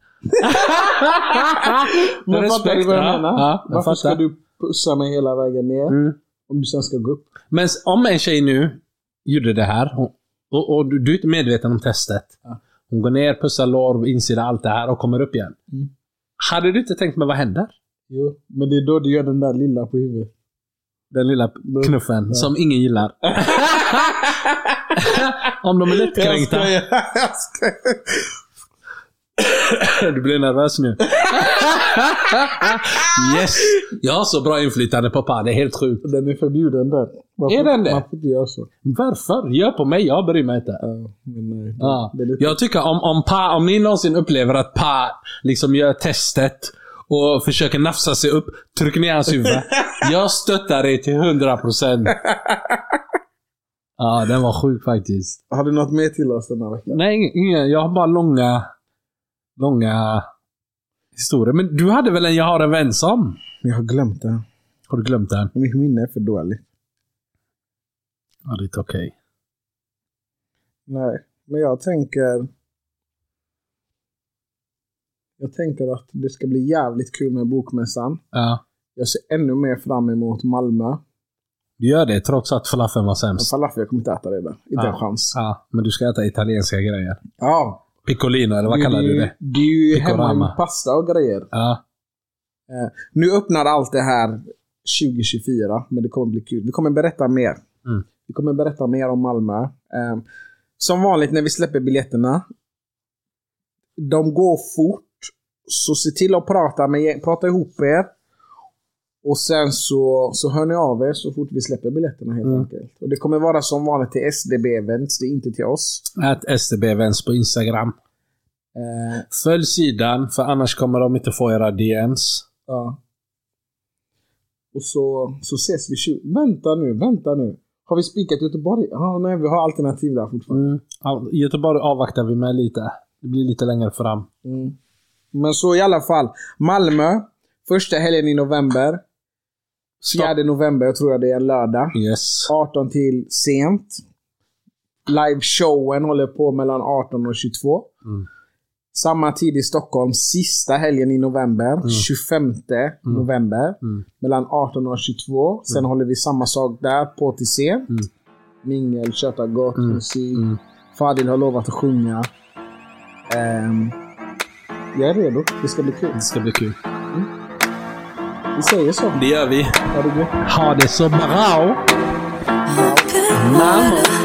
[SPEAKER 2] Men fattar du vad jag
[SPEAKER 3] ja.
[SPEAKER 2] menar?
[SPEAKER 3] Ja, jag
[SPEAKER 2] Varför ska
[SPEAKER 3] fattar.
[SPEAKER 2] du pussa mig hela vägen ner
[SPEAKER 3] Mm.
[SPEAKER 2] om du sen ska gå upp?
[SPEAKER 3] Men s- om en tjej nu gjorde det här och, och, och du, du är inte medveten om testet.
[SPEAKER 2] Ja.
[SPEAKER 3] Hon går ner, pussar lår, insida, allt det här och kommer upp igen.
[SPEAKER 2] Mm.
[SPEAKER 3] Hade du inte tänkt men vad händer?
[SPEAKER 2] Jo, men det är då du gör den där lilla på huvudet.
[SPEAKER 3] Den lilla knuffen
[SPEAKER 2] Ja.
[SPEAKER 3] som ingen gillar. om de är lättkränkta.
[SPEAKER 2] Jag skojar.
[SPEAKER 3] Du blir nervös nu. yes! Jag har så bra inflytande pappa, det är helt sjukt.
[SPEAKER 2] <laughs> Den är förbjuden där. Varför-
[SPEAKER 3] Är den det?
[SPEAKER 2] Man får inte göra så.
[SPEAKER 3] Varför? Gör på mig, jag bryr mig inte.
[SPEAKER 2] Ja, men nej.
[SPEAKER 3] Ja.
[SPEAKER 2] Den är-
[SPEAKER 3] Jag tycker om, om, pa, om ni någonsin upplever att Pa liksom gör testet och försöker nafsa sig upp, tryck ner hans huvud. Jag stöttar er till 100%. Ja, den var sjuk faktiskt.
[SPEAKER 2] Har du något mer till oss den här veckan?
[SPEAKER 3] Nej, ingen. Jag har bara långa, långa historier. Men du hade väl en Jag har en vän som?
[SPEAKER 2] Jag har glömt den.
[SPEAKER 3] Har du glömt den?
[SPEAKER 2] Mitt minne är för dåligt.
[SPEAKER 3] Ja, det är inte okej.
[SPEAKER 2] Nej, men jag tänker... Jag tänker att det ska bli jävligt kul med Bokmässan.
[SPEAKER 3] Ja.
[SPEAKER 2] Jag ser ännu mer fram emot Malmö.
[SPEAKER 3] Du gör det trots att falafeln var
[SPEAKER 2] Men
[SPEAKER 3] sämst.
[SPEAKER 2] falafel, jag kommer inte äta det där. Inte en
[SPEAKER 3] Ja.
[SPEAKER 2] chans.
[SPEAKER 3] Ja, men du ska äta italienska grejer.
[SPEAKER 2] Ja.
[SPEAKER 3] Piccolino, eller
[SPEAKER 2] Mm.
[SPEAKER 3] vad kallar du det?
[SPEAKER 2] Det är ju
[SPEAKER 3] Picorama.
[SPEAKER 2] hemmagjord pasta och grejer.
[SPEAKER 3] Ja.
[SPEAKER 2] Nu öppnar allt det här 2024, men det kommer bli kul. Vi kommer berätta mer.
[SPEAKER 3] Mm.
[SPEAKER 2] Vi kommer berätta mer om Malmö. Eh, som vanligt när vi släpper biljetterna, de går fort. Så se till att prata, med, prata ihop er. Och sen så, så hör ni av er så fort vi släpper biljetterna helt
[SPEAKER 3] Mm.
[SPEAKER 2] enkelt. Och det kommer vara som vanligt till SDB-events, det är inte till oss.
[SPEAKER 3] Ät STB Events på Instagram.
[SPEAKER 2] Eh,
[SPEAKER 3] Följ sidan, för annars kommer de inte få era DMs.
[SPEAKER 2] ja. Och så, så ses vi 20... Vänta nu, vänta nu. Har vi spikat Göteborg? Ah, nej, vi har alternativ där fortfarande.
[SPEAKER 3] Mm. Ja, Göteborg avvaktar vi med lite. Det blir lite längre fram.
[SPEAKER 2] Mm. Men så i alla fall. Malmö, första helgen i november.
[SPEAKER 3] Stopp.
[SPEAKER 2] 4 november tror jag det är en lördag.
[SPEAKER 3] Yes.
[SPEAKER 2] 18 till sent. Live-showen håller på mellan 18 och 22.
[SPEAKER 3] Mm.
[SPEAKER 2] Samma tid i Stockholm, sista helgen i november, 25 november,
[SPEAKER 3] Mm.
[SPEAKER 2] mellan 18 och 22. Sen håller vi samma sak där, på till sent.
[SPEAKER 3] Mm.
[SPEAKER 2] Mingel, köta gott, musik.
[SPEAKER 3] Mm.
[SPEAKER 2] Fadil har lovat att sjunga. Ehm, jag är redo. Det ska bli kul.
[SPEAKER 3] Det ska bli kul.
[SPEAKER 2] Vi säger så.
[SPEAKER 3] Det gör vi.
[SPEAKER 2] Ha det gött.
[SPEAKER 3] Ha det så bra!
[SPEAKER 4] Mamma